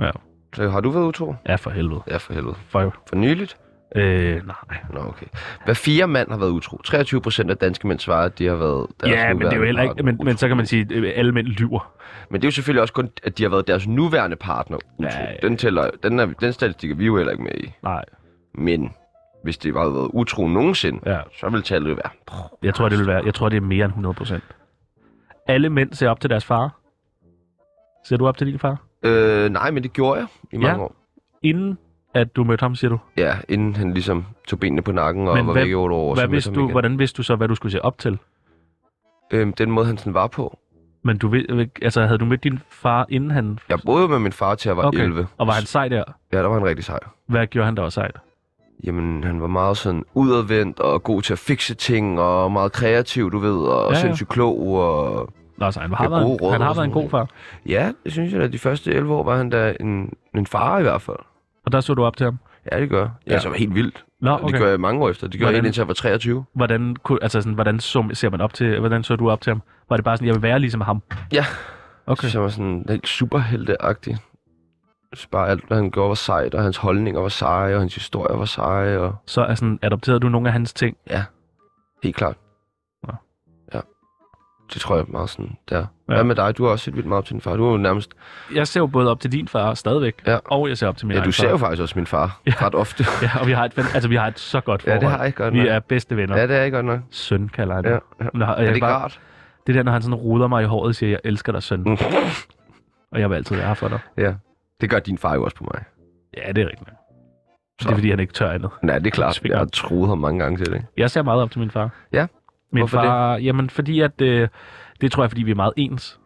Speaker 2: Ja.
Speaker 1: Så har du været utro?
Speaker 2: Ja, for helvede.
Speaker 1: Ja, for helvede.
Speaker 2: For,
Speaker 1: For nyligt?
Speaker 2: øh, nej.
Speaker 1: Nå, okay. Hver fire mand har været utro. 23 procent af danske mænd svarer, at de har været deres
Speaker 2: ja, men det er jo
Speaker 1: nuværende
Speaker 2: heller ikke...
Speaker 1: partner
Speaker 2: Men,
Speaker 1: utro.
Speaker 2: men så kan man sige, at alle mænd lyver.
Speaker 1: men det er jo selvfølgelig også kun, at de har været deres nuværende partner utro.
Speaker 2: Ja, ja.
Speaker 1: Den, tæller, den, er, den statistik er vi jo heller ikke med i.
Speaker 2: Nej,
Speaker 1: Men hvis det bare havde været utro nogensinde,
Speaker 2: ja.
Speaker 1: så ville tallet jo være.
Speaker 2: Jeg tror, det vil være... Jeg tror, det er mere end 100 procent. Alle mænd ser op til deres far. Ser du op til din far?
Speaker 1: Øh, nej, men det gjorde jeg i mange
Speaker 2: Ja.
Speaker 1: år.
Speaker 2: Inden at du mødte ham, siger du.
Speaker 1: Ja, inden han ligesom tog benene på nakken og
Speaker 2: Men
Speaker 1: var
Speaker 2: hvad-
Speaker 1: væk i otte år. og så
Speaker 2: Hvad
Speaker 1: mødte
Speaker 2: vidste
Speaker 1: ham
Speaker 2: du,
Speaker 1: igen.
Speaker 2: hvordan vidste du så, hvad du skulle se op til?
Speaker 1: Øhm, den måde, han sådan var på.
Speaker 2: Men du ved, altså, havde du mødt din far, inden han...
Speaker 1: Jeg boede med min far til jeg var
Speaker 2: Okay.
Speaker 1: okay. 11.
Speaker 2: Og var han sej der?
Speaker 1: Ja, der var han rigtig sej.
Speaker 2: Hvad gjorde han, der var sejt?
Speaker 1: Jamen, han var meget sådan udadvendt og god til at fikse ting og meget kreativ, du ved, og
Speaker 2: Ja,
Speaker 1: ja,
Speaker 2: ja.
Speaker 1: ja. sindssygt klog. Og...
Speaker 2: Nå, så han
Speaker 1: Det
Speaker 2: har,
Speaker 1: er
Speaker 2: været,
Speaker 1: gode råd altså.
Speaker 2: en- han har
Speaker 1: og
Speaker 2: været en
Speaker 1: sådan
Speaker 2: god far.
Speaker 1: Ja, det synes jeg, at de første 11 år var han da en, en far i hvert fald.
Speaker 2: Og der så du op til ham?
Speaker 1: Ja, det gør. jeg. Ja,
Speaker 2: Ja.
Speaker 1: ja. så var helt vildt.
Speaker 2: Nå,
Speaker 1: Okay. Det gør jeg i mange år efter. Det gør jeg
Speaker 2: Hvordan-
Speaker 1: helt indtil jeg var 23.
Speaker 2: Hvordan, kunne, altså sådan, hvordan så, ser man op til, hvordan så du op til ham? Var det bare sådan, jeg vil være ligesom ham?
Speaker 1: Ja.
Speaker 2: Okay.
Speaker 1: Så jeg var sådan helt superhelteagtig. Så bare alt, hvad han gjorde, var sejt, og hans holdninger var seje, og hans historier var seje, og
Speaker 2: Så er sådan, adopterede du nogle af hans ting?
Speaker 1: helt klart.
Speaker 2: Nå.
Speaker 1: Ja. Det tror jeg er meget sådan, der.
Speaker 2: Ja.
Speaker 1: Ja. Hvad med dig? Du har også set vildt meget op til din far. Du er jo nærmest
Speaker 2: Jeg ser jo både op til din far stadigvæk,
Speaker 1: Ja.
Speaker 2: og jeg ser op til min
Speaker 1: Ja,
Speaker 2: egen
Speaker 1: du
Speaker 2: far.
Speaker 1: ser jo faktisk også min far
Speaker 2: Ja.
Speaker 1: ja. ret
Speaker 2: <laughs>
Speaker 1: ofte.
Speaker 2: Ja, og vi har et, fan- altså, vi har et så godt
Speaker 1: Ja,
Speaker 2: forhold.
Speaker 1: det har jeg godt
Speaker 2: Vi
Speaker 1: nok.
Speaker 2: er bedste venner.
Speaker 1: Ja, det er jeg godt nok.
Speaker 2: Søn kalder han.
Speaker 1: Ja,
Speaker 2: mig.
Speaker 1: ja.
Speaker 2: Nå, og jeg
Speaker 1: Er
Speaker 2: kan
Speaker 1: det ikke
Speaker 2: bare,
Speaker 1: rart? <laughs>
Speaker 2: det er der, når han sådan ruder mig i håret og siger, jeg elsker dig, søn.
Speaker 1: Mm.
Speaker 2: Og jeg vil altid være her for dig.
Speaker 1: Ja. Det gør din far jo også på mig.
Speaker 2: Ja, det er rigtigt. nok.
Speaker 1: Så.
Speaker 2: Det er, fordi han ikke tør andet.
Speaker 1: Nej, det er klart.
Speaker 2: Svinger.
Speaker 1: Jeg har troet ham mange gange til det.
Speaker 2: Jeg ser meget op til min far.
Speaker 1: Ja?
Speaker 2: Min
Speaker 1: Hvorfor
Speaker 2: far, det? jamen fordi at, øh, det tror jeg, fordi vi er meget ens.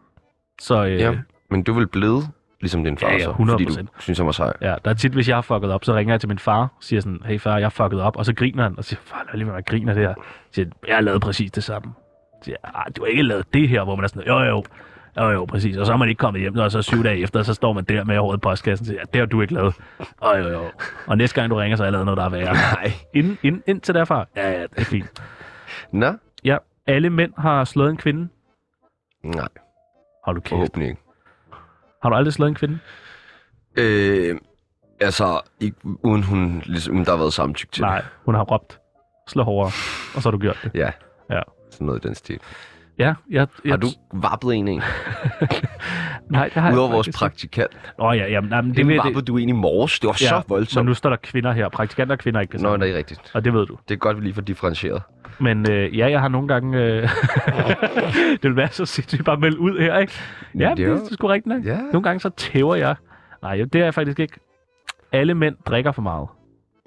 Speaker 2: Så øh,
Speaker 1: Øh. Ja. Men du vil blive ligesom din far,
Speaker 2: Ja, ja,
Speaker 1: så,
Speaker 2: 100%.
Speaker 1: fordi du synes, han var sej.
Speaker 2: ja, der er tit, hvis jeg har fucket op, så ringer jeg til min far og siger sådan, hey far, jeg har fucket op, og så griner han, og siger, far, lad lige med mig griner det her. Så Siger, han, jeg har lavet præcis det samme. Så Siger, jeg, "Ah, du har ikke lavet det her, hvor man er sådan, jo jo, jo jo, præcis. Og så er man ikke kommet hjem, og så syv dage efter, så står man der med håret i postkassen og siger, "Ja, det har du ikke lavet. Og jo jo. Og næste gang du ringer, så har jeg lavet noget, der er værre.
Speaker 1: Nej.
Speaker 2: Ind, ind, ind til derfra. Ja, ja, det er fint.
Speaker 1: Nå?
Speaker 2: Ja, alle mænd har slået en kvinde.
Speaker 1: Nej,
Speaker 2: Hold du kæft.
Speaker 1: forhåbentlig ikke.
Speaker 2: Har du aldrig slået en kvinde?
Speaker 1: Øh, altså, ikke, uden hun, ligesom, uden der har været samtykke til
Speaker 2: Nej, hun har råbt. Slå hårdere, og så har du gjort det.
Speaker 1: det. Ja.
Speaker 2: Ja.
Speaker 1: Sådan noget i den stil.
Speaker 2: Ja, jeg, jeg,
Speaker 1: Har du vappet en en?
Speaker 2: Nej, det har
Speaker 1: Udover vores
Speaker 2: faktisk
Speaker 1: praktikant.
Speaker 2: ikke. Åh ja, jamen, nej, men det,
Speaker 1: Det
Speaker 2: det, det,
Speaker 1: vappede du en i morges. Det var
Speaker 2: ja,
Speaker 1: så voldsomt.
Speaker 2: Men nu står der kvinder her. Praktikanter og kvinder er ikke det
Speaker 1: Nå,
Speaker 2: samme.
Speaker 1: det er rigtigt.
Speaker 2: Og det ved du.
Speaker 1: Det er godt, vi lige får differentieret.
Speaker 2: Men øh, ja, jeg har nogle gange... Øh, <laughs> det vil være så sindssygt bare at melde ud her, ikke?
Speaker 1: Jo.
Speaker 2: Ja, det, det er sgu rigtigt nok.
Speaker 1: Ja.
Speaker 2: Nogle gange så tæver jeg. Nej, det er jeg faktisk ikke. Alle mænd drikker for meget.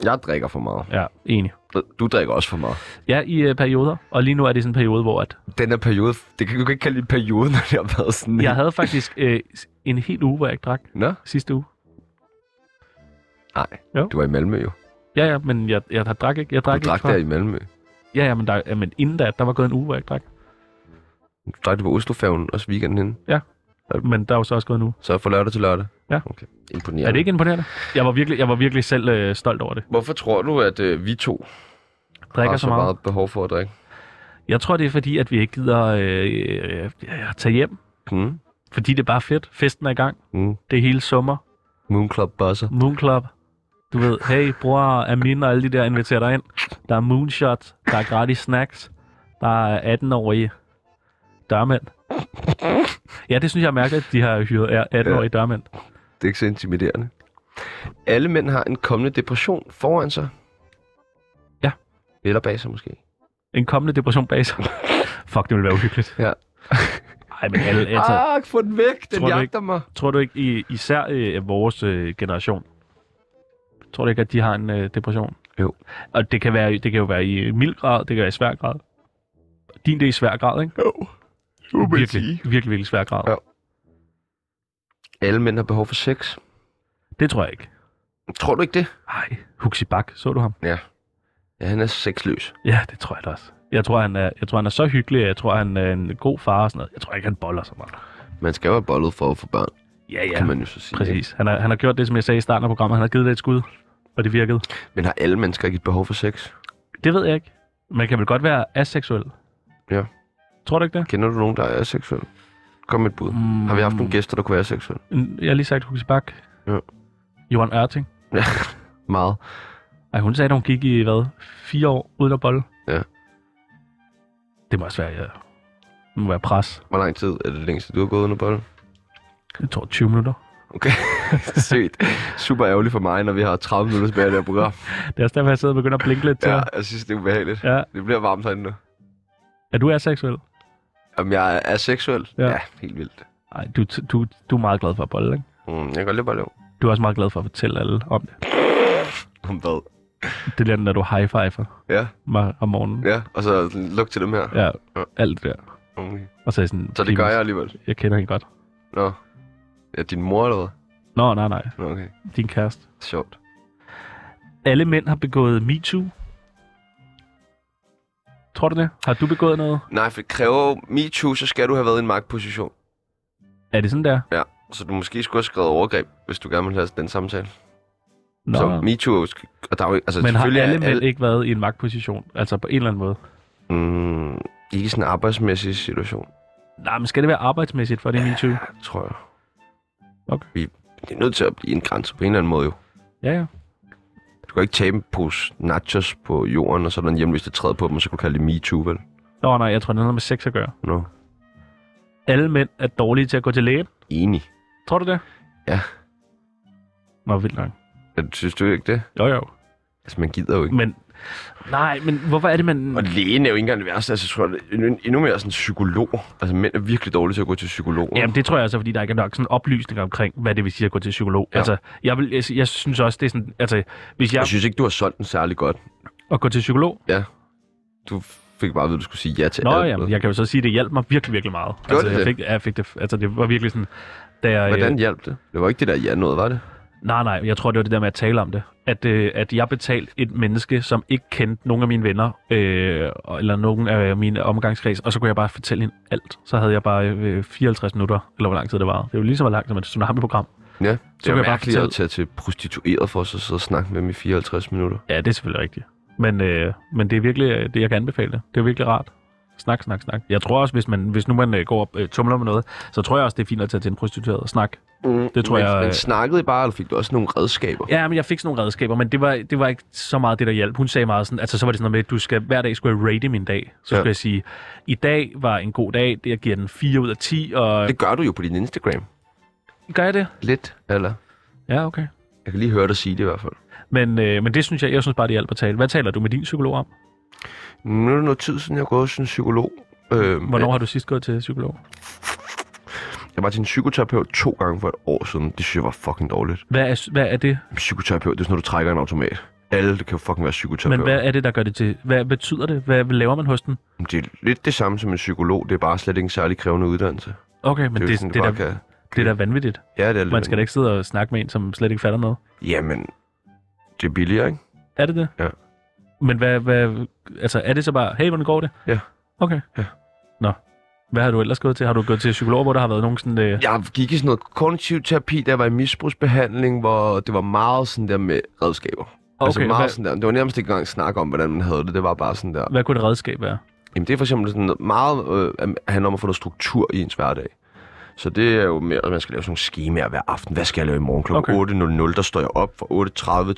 Speaker 1: Jeg drikker for meget.
Speaker 2: Ja, enig.
Speaker 1: Du drikker også for meget.
Speaker 2: Ja, i øh, perioder. Og lige nu er det sådan en periode, hvor at
Speaker 1: den her periode, det kan du kan ikke kalde det en periode, <laughs> når det har været sådan
Speaker 2: jeg havde faktisk øh, en hel uge, hvor jeg ikke drak
Speaker 1: Nå,
Speaker 2: sidste uge.
Speaker 1: nej.
Speaker 2: Jo.
Speaker 1: Du var i Malmø jo.
Speaker 2: Ja, ja, men jeg, jeg, jeg drak ikke. Jeg drak
Speaker 1: Du drak
Speaker 2: ikke fra-
Speaker 1: der i Malmø.
Speaker 2: Ja, ja, men, der, ja, men inden da, der var gået en uge, hvor jeg ikke drak.
Speaker 1: Du drak det på Oslofærgen også weekenden inden.
Speaker 2: Men der er jo så også gået en uge.
Speaker 1: Så fra lørdag til lørdag.
Speaker 2: Ja.
Speaker 1: Okay.
Speaker 2: Ja.
Speaker 1: Imponerende.
Speaker 2: Er det ikke imponerende? Jeg var virkelig, jeg var virkelig selv øh, stolt over det.
Speaker 1: Hvorfor tror du, at øh, vi to
Speaker 2: Drikker
Speaker 1: har
Speaker 2: Ah, så meget.
Speaker 1: meget behov for at drikke?
Speaker 2: Jeg tror, det er fordi, at vi ikke gider øh, øh, øh, tage hjem.
Speaker 1: Mm.
Speaker 2: Fordi det er bare fedt. Festen er i gang.
Speaker 1: Mm.
Speaker 2: Det er hele sommer.
Speaker 1: Moon Club Buzzer.
Speaker 2: Moon Club. Du ved, hey, bror, Amin og alle de der inviterer dig ind. Der er moonshot. Der er gratis snacks. Der er 18-årige dørmænd. Ja, det synes jeg er mærkeligt, at de har hyret er 18-årige dørmænd.
Speaker 1: Det er ikke så intimiderende. Alle mænd har en kommende depression foran sig.
Speaker 2: Ja.
Speaker 1: Eller bag sig måske.
Speaker 2: En kommende depression bag sig. Fuck, det ville være uhyggeligt.
Speaker 1: Ja.
Speaker 2: Ej, men alle, altså,
Speaker 1: Ah, få den væk! Den
Speaker 2: Tror du
Speaker 1: jagter mig.
Speaker 2: Tror du ikke, i- især øh, vores øh, generation, tror du ikke, at de har en øh, depression?
Speaker 1: Jo.
Speaker 2: Og det kan, være, det kan jo være i mild grad, det kan være i svær grad. Din det er i svær grad, ikke?
Speaker 1: Jo. Du må
Speaker 2: virkelig,
Speaker 1: sige.
Speaker 2: virkelig, virkelig svær grad.
Speaker 1: Ja. Alle mænd har behov for sex.
Speaker 2: Det tror jeg ikke.
Speaker 1: Tror du ikke det?
Speaker 2: Ej, Huxi Bak, så du ham?
Speaker 1: Ja, han er sexløs.
Speaker 2: Ja, det tror jeg da også. Jeg tror, han er, jeg tror, han er så hyggelig, jeg tror, han er en god far og sådan noget. Jeg tror ikke, han boller så meget.
Speaker 1: Man skal være bollet for at få børn.
Speaker 2: Ja, ja.
Speaker 1: kan man jo så sige. ikke?
Speaker 2: Præcis. Han har, han har gjort det, som jeg sagde i starten af programmet. Han har givet det et skud, og det virkede.
Speaker 1: Men har alle mennesker ikke et behov for sex?
Speaker 2: Det ved jeg ikke. Man kan vel godt være aseksuel.
Speaker 1: Ja.
Speaker 2: Tror du ikke det?
Speaker 1: Kender du nogen, der er aseksuel? Kom med et bud. Mm. Har vi haft nogle gæster, der kunne være aseksuelle?
Speaker 2: Mm, Jeg har lige sagt Huxi Bak.
Speaker 1: Ja.
Speaker 2: Johan Ørting.
Speaker 1: <laughs> Ja, meget.
Speaker 2: Ej, hun sagde, at hun gik i, hvad, fire år uden at bolle.
Speaker 1: Ja.
Speaker 2: Det må også være, ja. Det må være pres.
Speaker 1: Hvor lang tid er det længste, du har gået under bolden?
Speaker 2: Det tog 20 minutter.
Speaker 1: Okay, <laughs> sygt. Super ærgerligt for mig, når vi har 30 minutter tilbage af det her program.
Speaker 2: Det er også derfor, jeg sidder og begynder at blinke lidt til.
Speaker 1: Ja,
Speaker 2: Ja.
Speaker 1: jeg synes, det er ubehageligt.
Speaker 2: ja.
Speaker 1: Det bliver varmt herinde nu.
Speaker 2: Er du aseksuel?
Speaker 1: Om jeg er aseksuel?
Speaker 2: Ja.
Speaker 1: ja helt vildt.
Speaker 2: Nej, du, du, du er meget glad for at bolle, ikke?
Speaker 1: Mm, jeg kan godt lide bare lave.
Speaker 2: Du er også meget glad for at fortælle alle om det.
Speaker 1: Om hvad?
Speaker 2: Det er den, når du high-fiver
Speaker 1: Ja,
Speaker 2: mig om morgenen.
Speaker 1: ja. Og så sådan, luk til dem her.
Speaker 2: Ja,
Speaker 1: Ja.
Speaker 2: alt det der.
Speaker 1: Okay.
Speaker 2: Og så er jeg sådan,
Speaker 1: Så det gør jeg alligevel.
Speaker 2: Jeg kender hende godt.
Speaker 1: Nå. Ja, din mor eller hvad?
Speaker 2: Nå, nej, nej.
Speaker 1: Nå, okay.
Speaker 2: Din kæreste.
Speaker 1: Sjovt.
Speaker 2: Alle mænd har begået MeToo. Tror du det? Har du begået noget?
Speaker 1: Nej, for det kræver jo MeToo, så skal du have været i en magtposition.
Speaker 2: Er det sådan der?
Speaker 1: Ja, så du måske skulle have skrevet overgreb, hvis du gerne ville have den samtale.
Speaker 2: Nå.
Speaker 1: Så MeToo er jo... sk- Og der er jo, altså,
Speaker 2: Men har
Speaker 1: selvfølgelig er
Speaker 2: alle mænd ikke været i en magtposition? Altså på en eller anden måde?
Speaker 1: Mm, ikke sådan en arbejdsmæssig situation,
Speaker 2: Nej, men skal det være arbejdsmæssigt for det er MeToo?
Speaker 1: tror jeg.
Speaker 2: Okay.
Speaker 1: Vi, det er nødt til at blive en grænse på en eller anden måde jo.
Speaker 2: Ja, ja.
Speaker 1: Du kan ikke tabe en pose nachos på jorden, og så er der en hjemløs, der træder på dem, og så kan du kalde det MeToo, vel?
Speaker 2: Nå, nej, jeg tror, det er noget med sex at gøre.
Speaker 1: Nå.
Speaker 2: Alle mænd er dårlige til at gå til lægen.
Speaker 1: Enig.
Speaker 2: Tror du det?
Speaker 1: Ja.
Speaker 2: Nå, vildt nok.
Speaker 1: Ja, Synes du ikke det?
Speaker 2: Jo, jo.
Speaker 1: Altså, man gider jo ikke.
Speaker 2: Men, nej, men hvorfor er det, man...
Speaker 1: Og lægen er jo ikke engang det værste. Altså, jeg tror, det er endnu- endnu mere sådan psykolog. Altså, mænd er virkelig dårlige til at gå til psykolog.
Speaker 2: Jamen, det tror jeg altså, fordi der ikke er nok sådan oplysninger omkring, hvad det vil sige at gå til psykolog. Ja.
Speaker 1: Ja.
Speaker 2: Altså, jeg, vil, jeg, jeg synes også, det er sådan, altså, hvis jeg...
Speaker 1: Jeg synes ikke, du har solgt den særlig godt.
Speaker 2: At gå til psykolog?
Speaker 1: Du fik bare at vide, at du skulle sige ja til
Speaker 2: Nå,
Speaker 1: alt.
Speaker 2: jamen, jeg kan jo så sige, at det hjalp mig virkelig, virkelig meget.
Speaker 1: Gjorde
Speaker 2: altså,
Speaker 1: det
Speaker 2: jeg
Speaker 1: det?
Speaker 2: fik, ja, jeg fik det, altså, det var virkelig sådan, da jeg... øh,
Speaker 1: Hvordan hjalp det? Det var ikke det der ja noget, var det?
Speaker 2: Nej, nej, jeg tror, det var det der med at tale om det. At, øh, at jeg betalte et menneske, som ikke kendte nogen af mine venner, øh, og- eller nogen af mine omgangskreds, og så kunne jeg bare fortælle hende alt. Så havde jeg bare øh, 54 minutter, eller hvor lang tid det var. Det var lige så langt som et tsunami-program.
Speaker 1: Ja, det
Speaker 2: Så
Speaker 1: er
Speaker 2: kan
Speaker 1: jo
Speaker 2: jeg bare
Speaker 1: mærkeligt
Speaker 2: fortælle-
Speaker 1: at tage til prostitueret for sig og sidde og snakke med dem i 54 minutter.
Speaker 2: Ja, det er selvfølgelig rigtigt. Men, øh, men det er virkelig øh, det, jeg kan anbefale. Det er virkelig rart. Snak, snak, snak. Jeg tror også, hvis, man, hvis nu man øh, går og øh, tumler med noget, så tror jeg også, det er fint at tage til en prostitueret og snakke.
Speaker 1: Mm,
Speaker 2: Det tror
Speaker 1: men,
Speaker 2: jeg-
Speaker 1: Men snakkede I bare, eller fik du også nogle redskaber?
Speaker 2: Ja, men jeg fik sådan nogle redskaber, men det var, det var ikke så meget det, der hjalp. Hun sagde meget sådan, altså så var det sådan noget med, at du skal, hver dag skulle jeg rate min dag. Så
Speaker 1: Ja.
Speaker 2: skulle jeg sige, i dag var en god dag, det jeg giver den 4 ud af 10, og
Speaker 1: Det gør du jo på din Instagram.
Speaker 2: gør jeg det?
Speaker 1: Lidt, eller?
Speaker 2: Ja, okay.
Speaker 1: Jeg kan lige høre dig sige det i hvert fald.
Speaker 2: Men, øh, men det synes jeg, jeg synes bare, det hjalp at tale. Hvad taler du med din psykolog om?
Speaker 1: Nu er det noget tid siden, jeg har gået til en psykolog. Øh,
Speaker 2: Hvornår har du sidst gået til psykolog?
Speaker 1: Jeg var til en psykoterapeut to gange for et år siden. Det synes jeg var fucking dårligt.
Speaker 2: Hvad er, hvad er det?
Speaker 1: Psykoterapeut, det er sådan, når du trækker en automat. Alle det kan jo fucking være
Speaker 2: Men
Speaker 1: psykoterapeut.
Speaker 2: hvad er det, der gør det til? Hvad betyder det? Hvad laver man hos den?
Speaker 1: Det er lidt det samme som en psykolog. Det er bare slet ikke en særlig krævende uddannelse.
Speaker 2: Okay, men
Speaker 1: jo
Speaker 2: det, det,
Speaker 1: sådan,
Speaker 2: det, er
Speaker 1: bare
Speaker 2: da,
Speaker 1: kan...
Speaker 2: det er da vanvittigt.
Speaker 1: Ja, det er
Speaker 2: Man skal da ikke sidde og snakke med en, som slet ikke fatter noget.
Speaker 1: Jamen, det er billigere, ikke?
Speaker 2: Er det det?
Speaker 1: Ja.
Speaker 2: Men hvad, hvad, altså er det så bare, hey, hvordan går det?
Speaker 1: Ja.
Speaker 2: Okay.
Speaker 1: Ja.
Speaker 2: Nå. Hvad har du ellers gået til? Har du gået til psykologer, hvor der har været nogen sådan... Øh...
Speaker 1: Jeg gik i sådan noget kognitiv terapi, der var i misbrugsbehandling, hvor det var meget sådan der med redskaber. Okay, altså meget
Speaker 2: hvad,
Speaker 1: sådan der. Det var nærmest ikke engang snak om, hvordan man havde det. Det var bare sådan der.
Speaker 2: hvad kunne et redskab være?
Speaker 1: Jamen det er for eksempel sådan noget meget øh, at- handler om at få noget struktur i ens hverdag. Så det er jo mere, at man skal lave sådan nogle skemaer hver aften. Hvad skal jeg lave i morgen kl.
Speaker 2: Okay.
Speaker 1: Okay. 8.00? Der står jeg op fra 8.30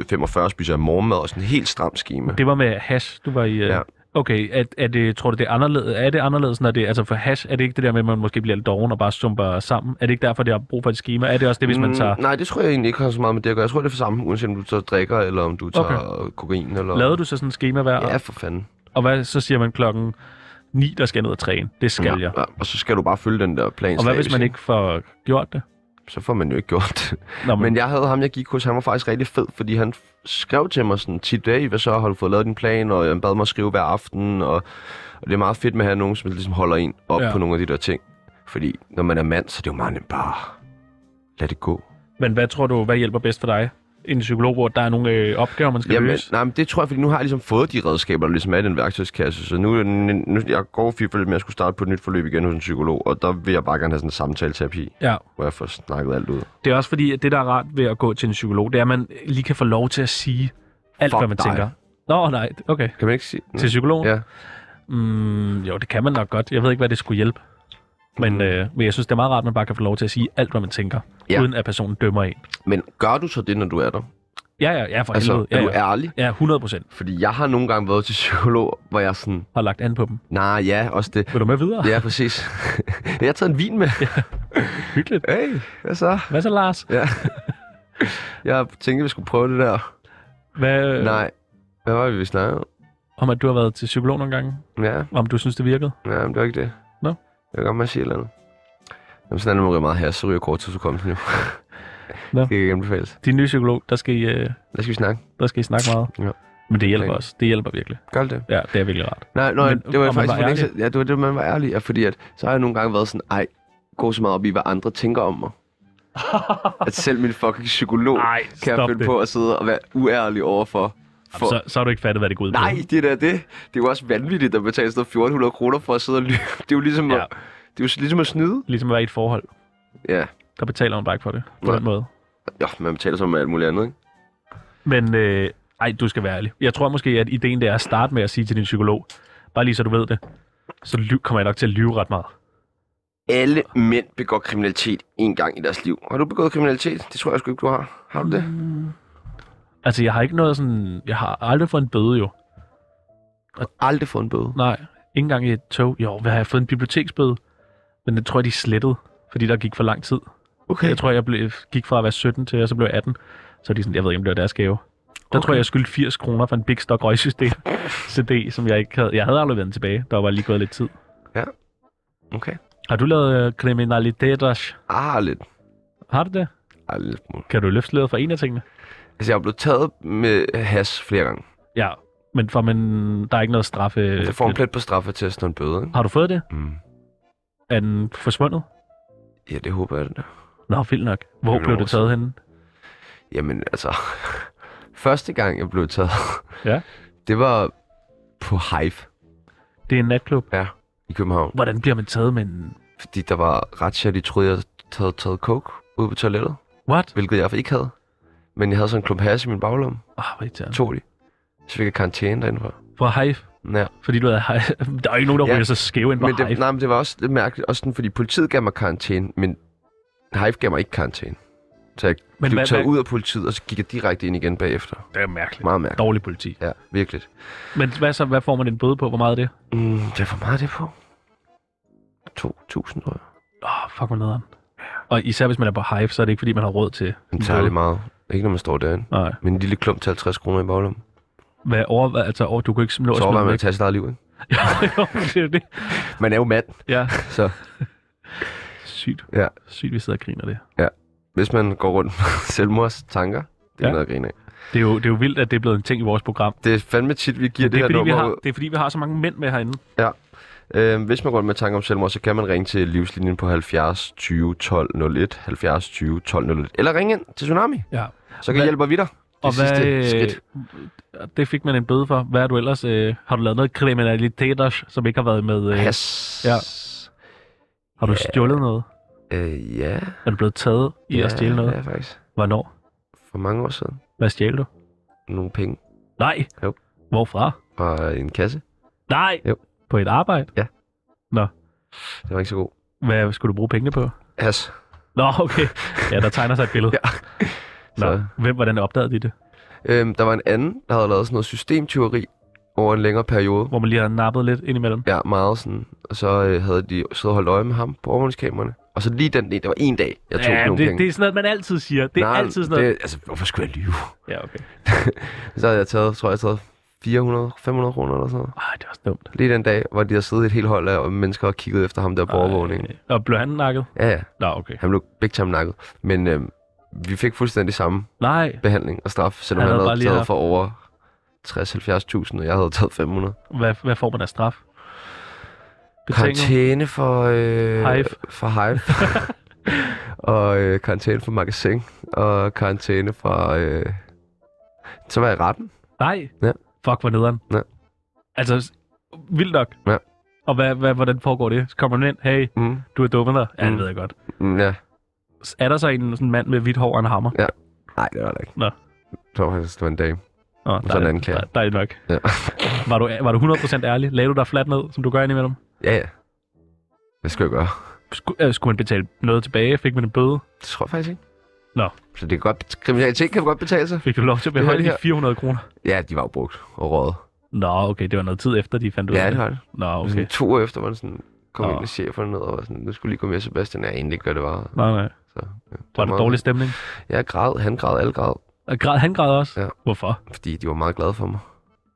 Speaker 1: til 8.45, spiser jeg morgenmad og sådan en helt stram schema.
Speaker 2: Det var med hash, du var i... Øh...
Speaker 1: Ja.
Speaker 2: Okay, er, er det, tror du, det er anderledes? Er det anderledes, når det, altså for hash, er det ikke det der med, at man måske bliver lidt doven og bare sumper sammen? Er det ikke derfor, det har brug for et schema? Er det også det, hvis man
Speaker 1: Mm,
Speaker 2: tager...
Speaker 1: Nej, det tror jeg egentlig ikke har så meget med det at gøre. Jeg tror, det er for samme, uanset om du så drikker, eller om du tager okay. kokain. Eller...
Speaker 2: Lavede du så sådan et schema hver?
Speaker 1: Ja, for fanden.
Speaker 2: Og hvad, så siger man klokken 9, der skal jeg ned og træne. Det skal
Speaker 1: ja.
Speaker 2: jeg.
Speaker 1: ja. Og så skal du bare følge den der plan.
Speaker 2: Og hvad hvis
Speaker 1: slavisk,
Speaker 2: man ikke får gjort det?
Speaker 1: Så får man jo ikke gjort det.
Speaker 2: Nå, men,
Speaker 1: Men jeg havde ham, jeg gik hos, han var faktisk rigtig fed, fordi han f- skrev til mig sådan tit, hey, hvad så, har du fået lavet din plan, og han bad mig at skrive hver aften, og, og det er meget fedt med at have nogen, som ligesom holder en op
Speaker 2: Ja.
Speaker 1: ja. på nogle af de der ting. Fordi når man er mand, så er det jo meget nemt bare, lad det gå.
Speaker 2: men hvad tror du, hvad hjælper bedst for dig? en psykolog, hvor der er nogle øh, opgaver, man skal Jamen,
Speaker 1: Jamen,
Speaker 2: løse?
Speaker 1: nej, men det tror jeg, fordi nu har jeg ligesom fået de redskaber, der ligesom er i den værktøjskasse. Så nu, er den- nu jeg går fire forløb, men jeg skulle starte på et nyt forløb igen hos en psykolog, og der vil jeg bare gerne have sådan en samtaleterapi,
Speaker 2: Ja.
Speaker 1: hvor jeg får snakket alt ud.
Speaker 2: Det er også fordi, at det, der er rart ved at gå til en psykolog, det er, at man lige kan få lov til at sige alt,
Speaker 1: Fuck
Speaker 2: hvad man
Speaker 1: dig.
Speaker 2: tænker. Nå, nej, okay.
Speaker 1: Kan man ikke sige?
Speaker 2: Til psykologen?
Speaker 1: Ja.
Speaker 2: Mm, jo, det kan man nok godt. Jeg ved ikke, hvad det skulle hjælpe. Men, øh, men jeg synes, det er meget rart, at man bare kan få lov til at sige alt, hvad man tænker, ja.
Speaker 1: Mm. Ja.
Speaker 2: uden at personen dømmer en.
Speaker 1: Men gør du så det, når du er der?
Speaker 2: Ja, ja, ja, for
Speaker 1: Altså,
Speaker 2: helvede. Ja,
Speaker 1: er du
Speaker 2: ja.
Speaker 1: ærlig?
Speaker 2: ja, 100 procent
Speaker 1: Fordi jeg har nogle gange været til psykolog, hvor jeg er sådan,
Speaker 2: har lagt an på dem.
Speaker 1: nej, nah, ja, også det.
Speaker 2: Vil du med videre?
Speaker 1: Ja, præcis. <laughs> jeg har taget en vin med.
Speaker 2: <laughs> Hyggeligt.
Speaker 1: Hey, hvad så?
Speaker 2: Hvad så, Lars?
Speaker 1: Ja. jeg tænkte, vi skulle prøve det der.
Speaker 2: Hvad, øh,
Speaker 1: Nej. Hvad var det, vi snakkede om?
Speaker 2: Om at du har været til psykolog nogle gange?
Speaker 1: Ja,
Speaker 2: Om du synes, det virkede?
Speaker 1: nej, men det var ikke det.
Speaker 2: Nå.
Speaker 1: Jeg kan godt med at sige et eller andet. Jamen, sådan er det måske meget her, så ryger kort til, så kommer nu.
Speaker 2: Nå.
Speaker 1: Det kan ikke anbefales.
Speaker 2: Din nye psykolog, der skal I, øh,
Speaker 1: Lad skal vi snakke.
Speaker 2: der skal I snakke meget.
Speaker 1: Ja.
Speaker 2: Men det hjælper
Speaker 1: Okay.
Speaker 2: også. Det hjælper virkelig.
Speaker 1: Gør det?
Speaker 2: Ja, det er virkelig rart.
Speaker 1: Nej, nej,
Speaker 2: Men-
Speaker 1: men, det var
Speaker 2: og man
Speaker 1: jeg faktisk
Speaker 2: var
Speaker 1: for længe siden- Ja, det var det, man var ærlig. Ja, fordi at, så har jeg nogle gange været sådan, ej, gå så meget op i, hvad andre tænker
Speaker 2: <laughs>
Speaker 1: om mig. at selv min fucking psykolog
Speaker 2: Ej,
Speaker 1: kan
Speaker 2: stop
Speaker 1: jeg finde
Speaker 2: det.
Speaker 1: på at sidde og være uærlig overfor. For,
Speaker 2: Så, så har du ikke fattet, hvad det går ud på.
Speaker 1: Nej, det er da det. Det er jo også vanvittigt at betale sådan noget 1400 kroner for at sidde og lyve. Det er jo ligesom,
Speaker 2: Ja.
Speaker 1: ja. at, det er jo ligesom at snyde.
Speaker 2: Ligesom at være i et forhold.
Speaker 1: Ja.
Speaker 2: Der betaler man bare ikke for det. På
Speaker 1: Nej.
Speaker 2: den måde.
Speaker 1: ja, man betaler så med alt muligt andet, ikke?
Speaker 2: Men øh, ej, du skal være ærlig. Jeg tror måske, at ideen det er at starte med at sige til din psykolog, bare lige så du ved det, så ly- kommer jeg nok til at lyve ret meget.
Speaker 1: Alle mænd begår kriminalitet en gang i deres liv. Har du begået kriminalitet? Det tror jeg sgu ikke, du har. Har du det?
Speaker 2: Altså, jeg har ikke noget sådan... Jeg har aldrig fået en bøde, jo.
Speaker 1: Aldrig fået en bøde.
Speaker 2: Nej, ikke engang i et tog. Jo, hvad har jeg fået en biblioteksbøde? Men det tror jeg, de slettede, fordi der gik for lang tid.
Speaker 1: Okay.
Speaker 2: Jeg tror, jeg blev, gik fra at være 17 til, og så blev jeg 18. Så er de sådan, jeg ved ikke, om det var deres gave. Der okay. tror jeg, jeg skyldte 80 kroner for en Big Stock røgsystem
Speaker 1: <laughs>
Speaker 2: CD, som jeg ikke havde. Jeg havde aldrig vendt tilbage. Der var lige gået lidt tid.
Speaker 1: Okay.
Speaker 2: Har du lavet øh, kriminaliteter?
Speaker 1: Ah, lidt.
Speaker 2: Har du det?
Speaker 1: Ah, lidt smule.
Speaker 2: Kan du løfte sløret for en af tingene?
Speaker 1: Altså, jeg er blevet taget med has flere gange.
Speaker 2: Ja, men for man, der er ikke noget straffe.
Speaker 1: Jeg får en plet på straffetesten og en bøde, ikke?
Speaker 2: Har du fået det?
Speaker 1: Mm.
Speaker 2: Er den forsvundet?
Speaker 1: Ja, det håber jeg, den er.
Speaker 2: Nå, vildt nok. Hvor
Speaker 1: Det er
Speaker 2: blev
Speaker 1: nogle
Speaker 2: det taget henne?
Speaker 1: Jamen, altså... <laughs> Første gang, jeg blev taget...
Speaker 2: <laughs> Ja.
Speaker 1: Det var på Hive
Speaker 2: Det er en natklub.
Speaker 1: i København.
Speaker 2: Hvordan bliver man taget med en...
Speaker 1: Fordi der var ret de troede, jeg havde taget coke ude på toilettet.
Speaker 2: What?
Speaker 1: Hvilket jeg ikke havde. Men jeg havde sådan en klump hash i min baglomme.
Speaker 2: Ah, hvor irriterende.
Speaker 1: Tog de. Så fik jeg karantæne derindefra.
Speaker 2: Fra Hive.
Speaker 1: Ja.
Speaker 2: Fordi du havde Hive. <laughs> Der er jo ikke nogen, der
Speaker 1: Ja,
Speaker 2: ryger så skæve ind på
Speaker 1: Men
Speaker 2: Hive.
Speaker 1: det, nej, men det var også lidt mærkeligt. Også sådan, fordi politiet gav mig karantæne, men Hive gav mig ikke karantæne. Så jeg
Speaker 2: Men
Speaker 1: men blev
Speaker 2: hvad-
Speaker 1: taget
Speaker 2: hvad-
Speaker 1: ud af politiet, og så gik jeg direkte ind igen bagefter.
Speaker 2: det er mærkeligt.
Speaker 1: Meget mærkeligt.
Speaker 2: Dårlig politi.
Speaker 1: Ja, virkelig.
Speaker 2: Men hvad så? Hvad får man en bøde på? Hvor meget er det?
Speaker 1: Mm, det var meget er det på. 2.000, tror jeg.
Speaker 2: Åh, oh, fuck, hvor nederen. Og især hvis man er på Hive, så er det ikke, fordi man har råd til...
Speaker 1: Men
Speaker 2: en
Speaker 1: tager
Speaker 2: bøde.
Speaker 1: lidt meget. Ikke når man står derinde.
Speaker 2: Nej.
Speaker 1: Men en lille klump til 50 kroner i baglommen.
Speaker 2: Hvad over... Altså, over, du kunne ikke nå at
Speaker 1: Så
Speaker 2: smide
Speaker 1: overvejer
Speaker 2: den
Speaker 1: man at
Speaker 2: væk.
Speaker 1: tage sit eget liv, ikke?
Speaker 2: Jo, jo, <laughs> det er jo det.
Speaker 1: Man er jo mand,
Speaker 2: Ja.
Speaker 1: så
Speaker 2: Sygt.
Speaker 1: Ja.
Speaker 2: Sygt, vi sidder og griner af det.
Speaker 1: hvis man går rundt med <laughs> selvmordstanker, det er
Speaker 2: Ja.
Speaker 1: ja. noget at grine af.
Speaker 2: Det er, jo, det er jo vildt, at det er blevet en ting i vores program.
Speaker 1: Det er fandme tit, vi giver det,
Speaker 2: Det er,
Speaker 1: her
Speaker 2: fordi, vi
Speaker 1: nummer
Speaker 2: har,
Speaker 1: ud.
Speaker 2: det er fordi, vi har så mange mænd med herinde.
Speaker 1: Øh, hvis man går rundt med tanker om selvmord, så kan man ringe til livslinjen på 70 20 12 01, 70 20 12 01, eller ringe ind til Tsunami,
Speaker 2: Ja.
Speaker 1: så kan
Speaker 2: Hvad-
Speaker 1: hvad? hjælper vi dig. Det
Speaker 2: Og hvad,
Speaker 1: sidste skridt.
Speaker 2: øh, det fik man en bøde for. Hvad er du ellers? Øh, har du lavet noget kriminalitet, som ikke har været med? Øh,
Speaker 1: Pas.
Speaker 2: ja. har du stjålet noget?
Speaker 1: Øh, ja.
Speaker 2: Er du blevet taget i
Speaker 1: ja,
Speaker 2: at stjæle noget?
Speaker 1: Ja, faktisk.
Speaker 2: Hvornår?
Speaker 1: For mange år siden.
Speaker 2: Hvad stjal du?
Speaker 1: Nogle penge
Speaker 2: Nej.
Speaker 1: Jo.
Speaker 2: Hvorfra?
Speaker 1: og en kasse.
Speaker 2: Nej.
Speaker 1: Jo.
Speaker 2: På et arbejde?
Speaker 1: Det var ikke så god.
Speaker 2: Hvad skulle du bruge pengene på?
Speaker 1: Has.
Speaker 2: Nå, okay. Ja, der tegner sig et billede.
Speaker 1: <laughs> Ja.
Speaker 2: Nå,
Speaker 1: Så.
Speaker 2: hvem, hvordan opdagede de det?
Speaker 1: Øhm, der var en anden, der havde lavet sådan noget systemtyveri over en længere periode.
Speaker 2: Hvor man lige har nappet lidt ind imellem.
Speaker 1: Ja, meget sådan. Og så øh, havde de siddet og holdt øje med ham på overvågningskameraerne. Og så lige den dag, der var en dag, jeg tog ja, nogle
Speaker 2: det,
Speaker 1: penge.
Speaker 2: det er sådan noget, man altid siger. Det er
Speaker 1: Nej,
Speaker 2: altid sådan noget.
Speaker 1: Det, altså, hvorfor skulle jeg lyve?
Speaker 2: Ja, okay.
Speaker 1: Så havde jeg taget, tror jeg, jeg havde taget 400-500 kroner eller sådan noget.
Speaker 2: Ej, det er også dumt.
Speaker 1: Lige den dag, hvor de havde siddet et helt hold af mennesker og kigget efter ham der på overvågningen.
Speaker 2: Ej, Og blev han nakket?
Speaker 1: Ja, ja.
Speaker 2: Nå, okay.
Speaker 1: Han blev big time nakket. Men øh, vi fik fuldstændig samme
Speaker 2: Nej.
Speaker 1: behandling og straf, selvom
Speaker 2: Han
Speaker 1: han,
Speaker 2: havde
Speaker 1: han
Speaker 2: bare
Speaker 1: havde
Speaker 2: lige
Speaker 1: taget
Speaker 2: haft-
Speaker 1: for over 60-70.000, og jeg havde taget 500.
Speaker 2: Hvad, hvad får man af straf? Betinget?
Speaker 1: Karantæne for, øh,
Speaker 2: Hive. <laughs>
Speaker 1: for Hive. og øh, karantæne fra magasin, og karantæne fra... Øh, så var jeg i retten.
Speaker 2: Nej.
Speaker 1: Ja.
Speaker 2: Fuck, hvor nederen.
Speaker 1: Ja.
Speaker 2: Altså, s- vildt nok.
Speaker 1: Ja.
Speaker 2: Og hvad, hvad, hvordan foregår det? Så kommer man ind, hey,
Speaker 1: Mm.
Speaker 2: du er dummet dig. Ja,
Speaker 1: Mm.
Speaker 2: det ved jeg godt.
Speaker 1: Mm, ja.
Speaker 2: S- Er der så en sådan mand med hvidt hår og en hammer?
Speaker 1: Nej, det var det ikke.
Speaker 2: Nå.
Speaker 1: Så var det var en dame.
Speaker 2: Nå,
Speaker 1: så en anklager.
Speaker 2: Der, er nok.
Speaker 1: Ja.
Speaker 2: Var du, var du 100% ærlig? Lagde du dig fladt ned, som du gør indimellem?
Speaker 1: ja, ja. Hvad skal jeg gøre?
Speaker 2: Sku, øh, skulle man betale noget tilbage? Fik man en bøde?
Speaker 1: Det tror jeg faktisk ikke.
Speaker 2: Nå.
Speaker 1: Så det kan godt, kriminalitet kan godt betale sig.
Speaker 2: Fik du lov til at
Speaker 1: Det er
Speaker 2: beholde
Speaker 1: det
Speaker 2: de
Speaker 1: her.
Speaker 2: 400 kroner?
Speaker 1: Ja, de var jo brugt og røget.
Speaker 2: Nå, okay, det var noget tid efter, de fandt ud af
Speaker 1: Ja, det var det.
Speaker 2: Nå,
Speaker 1: Okay.
Speaker 2: okay.
Speaker 1: To år efter var det sådan, kom
Speaker 2: Nå.
Speaker 1: ind og cheferne ned og var sådan, nu skulle lige komme med Sebastian. Ja, egentlig ikke, hvad det var.
Speaker 2: Nej, nej.
Speaker 1: Så, ja,
Speaker 2: Var det
Speaker 1: meget-
Speaker 2: dårlig stemning?
Speaker 1: Jeg græd, han græd, alle græd,
Speaker 2: Og græd, han græd også?
Speaker 1: Ja.
Speaker 2: Hvorfor?
Speaker 1: fordi de var meget glade for mig.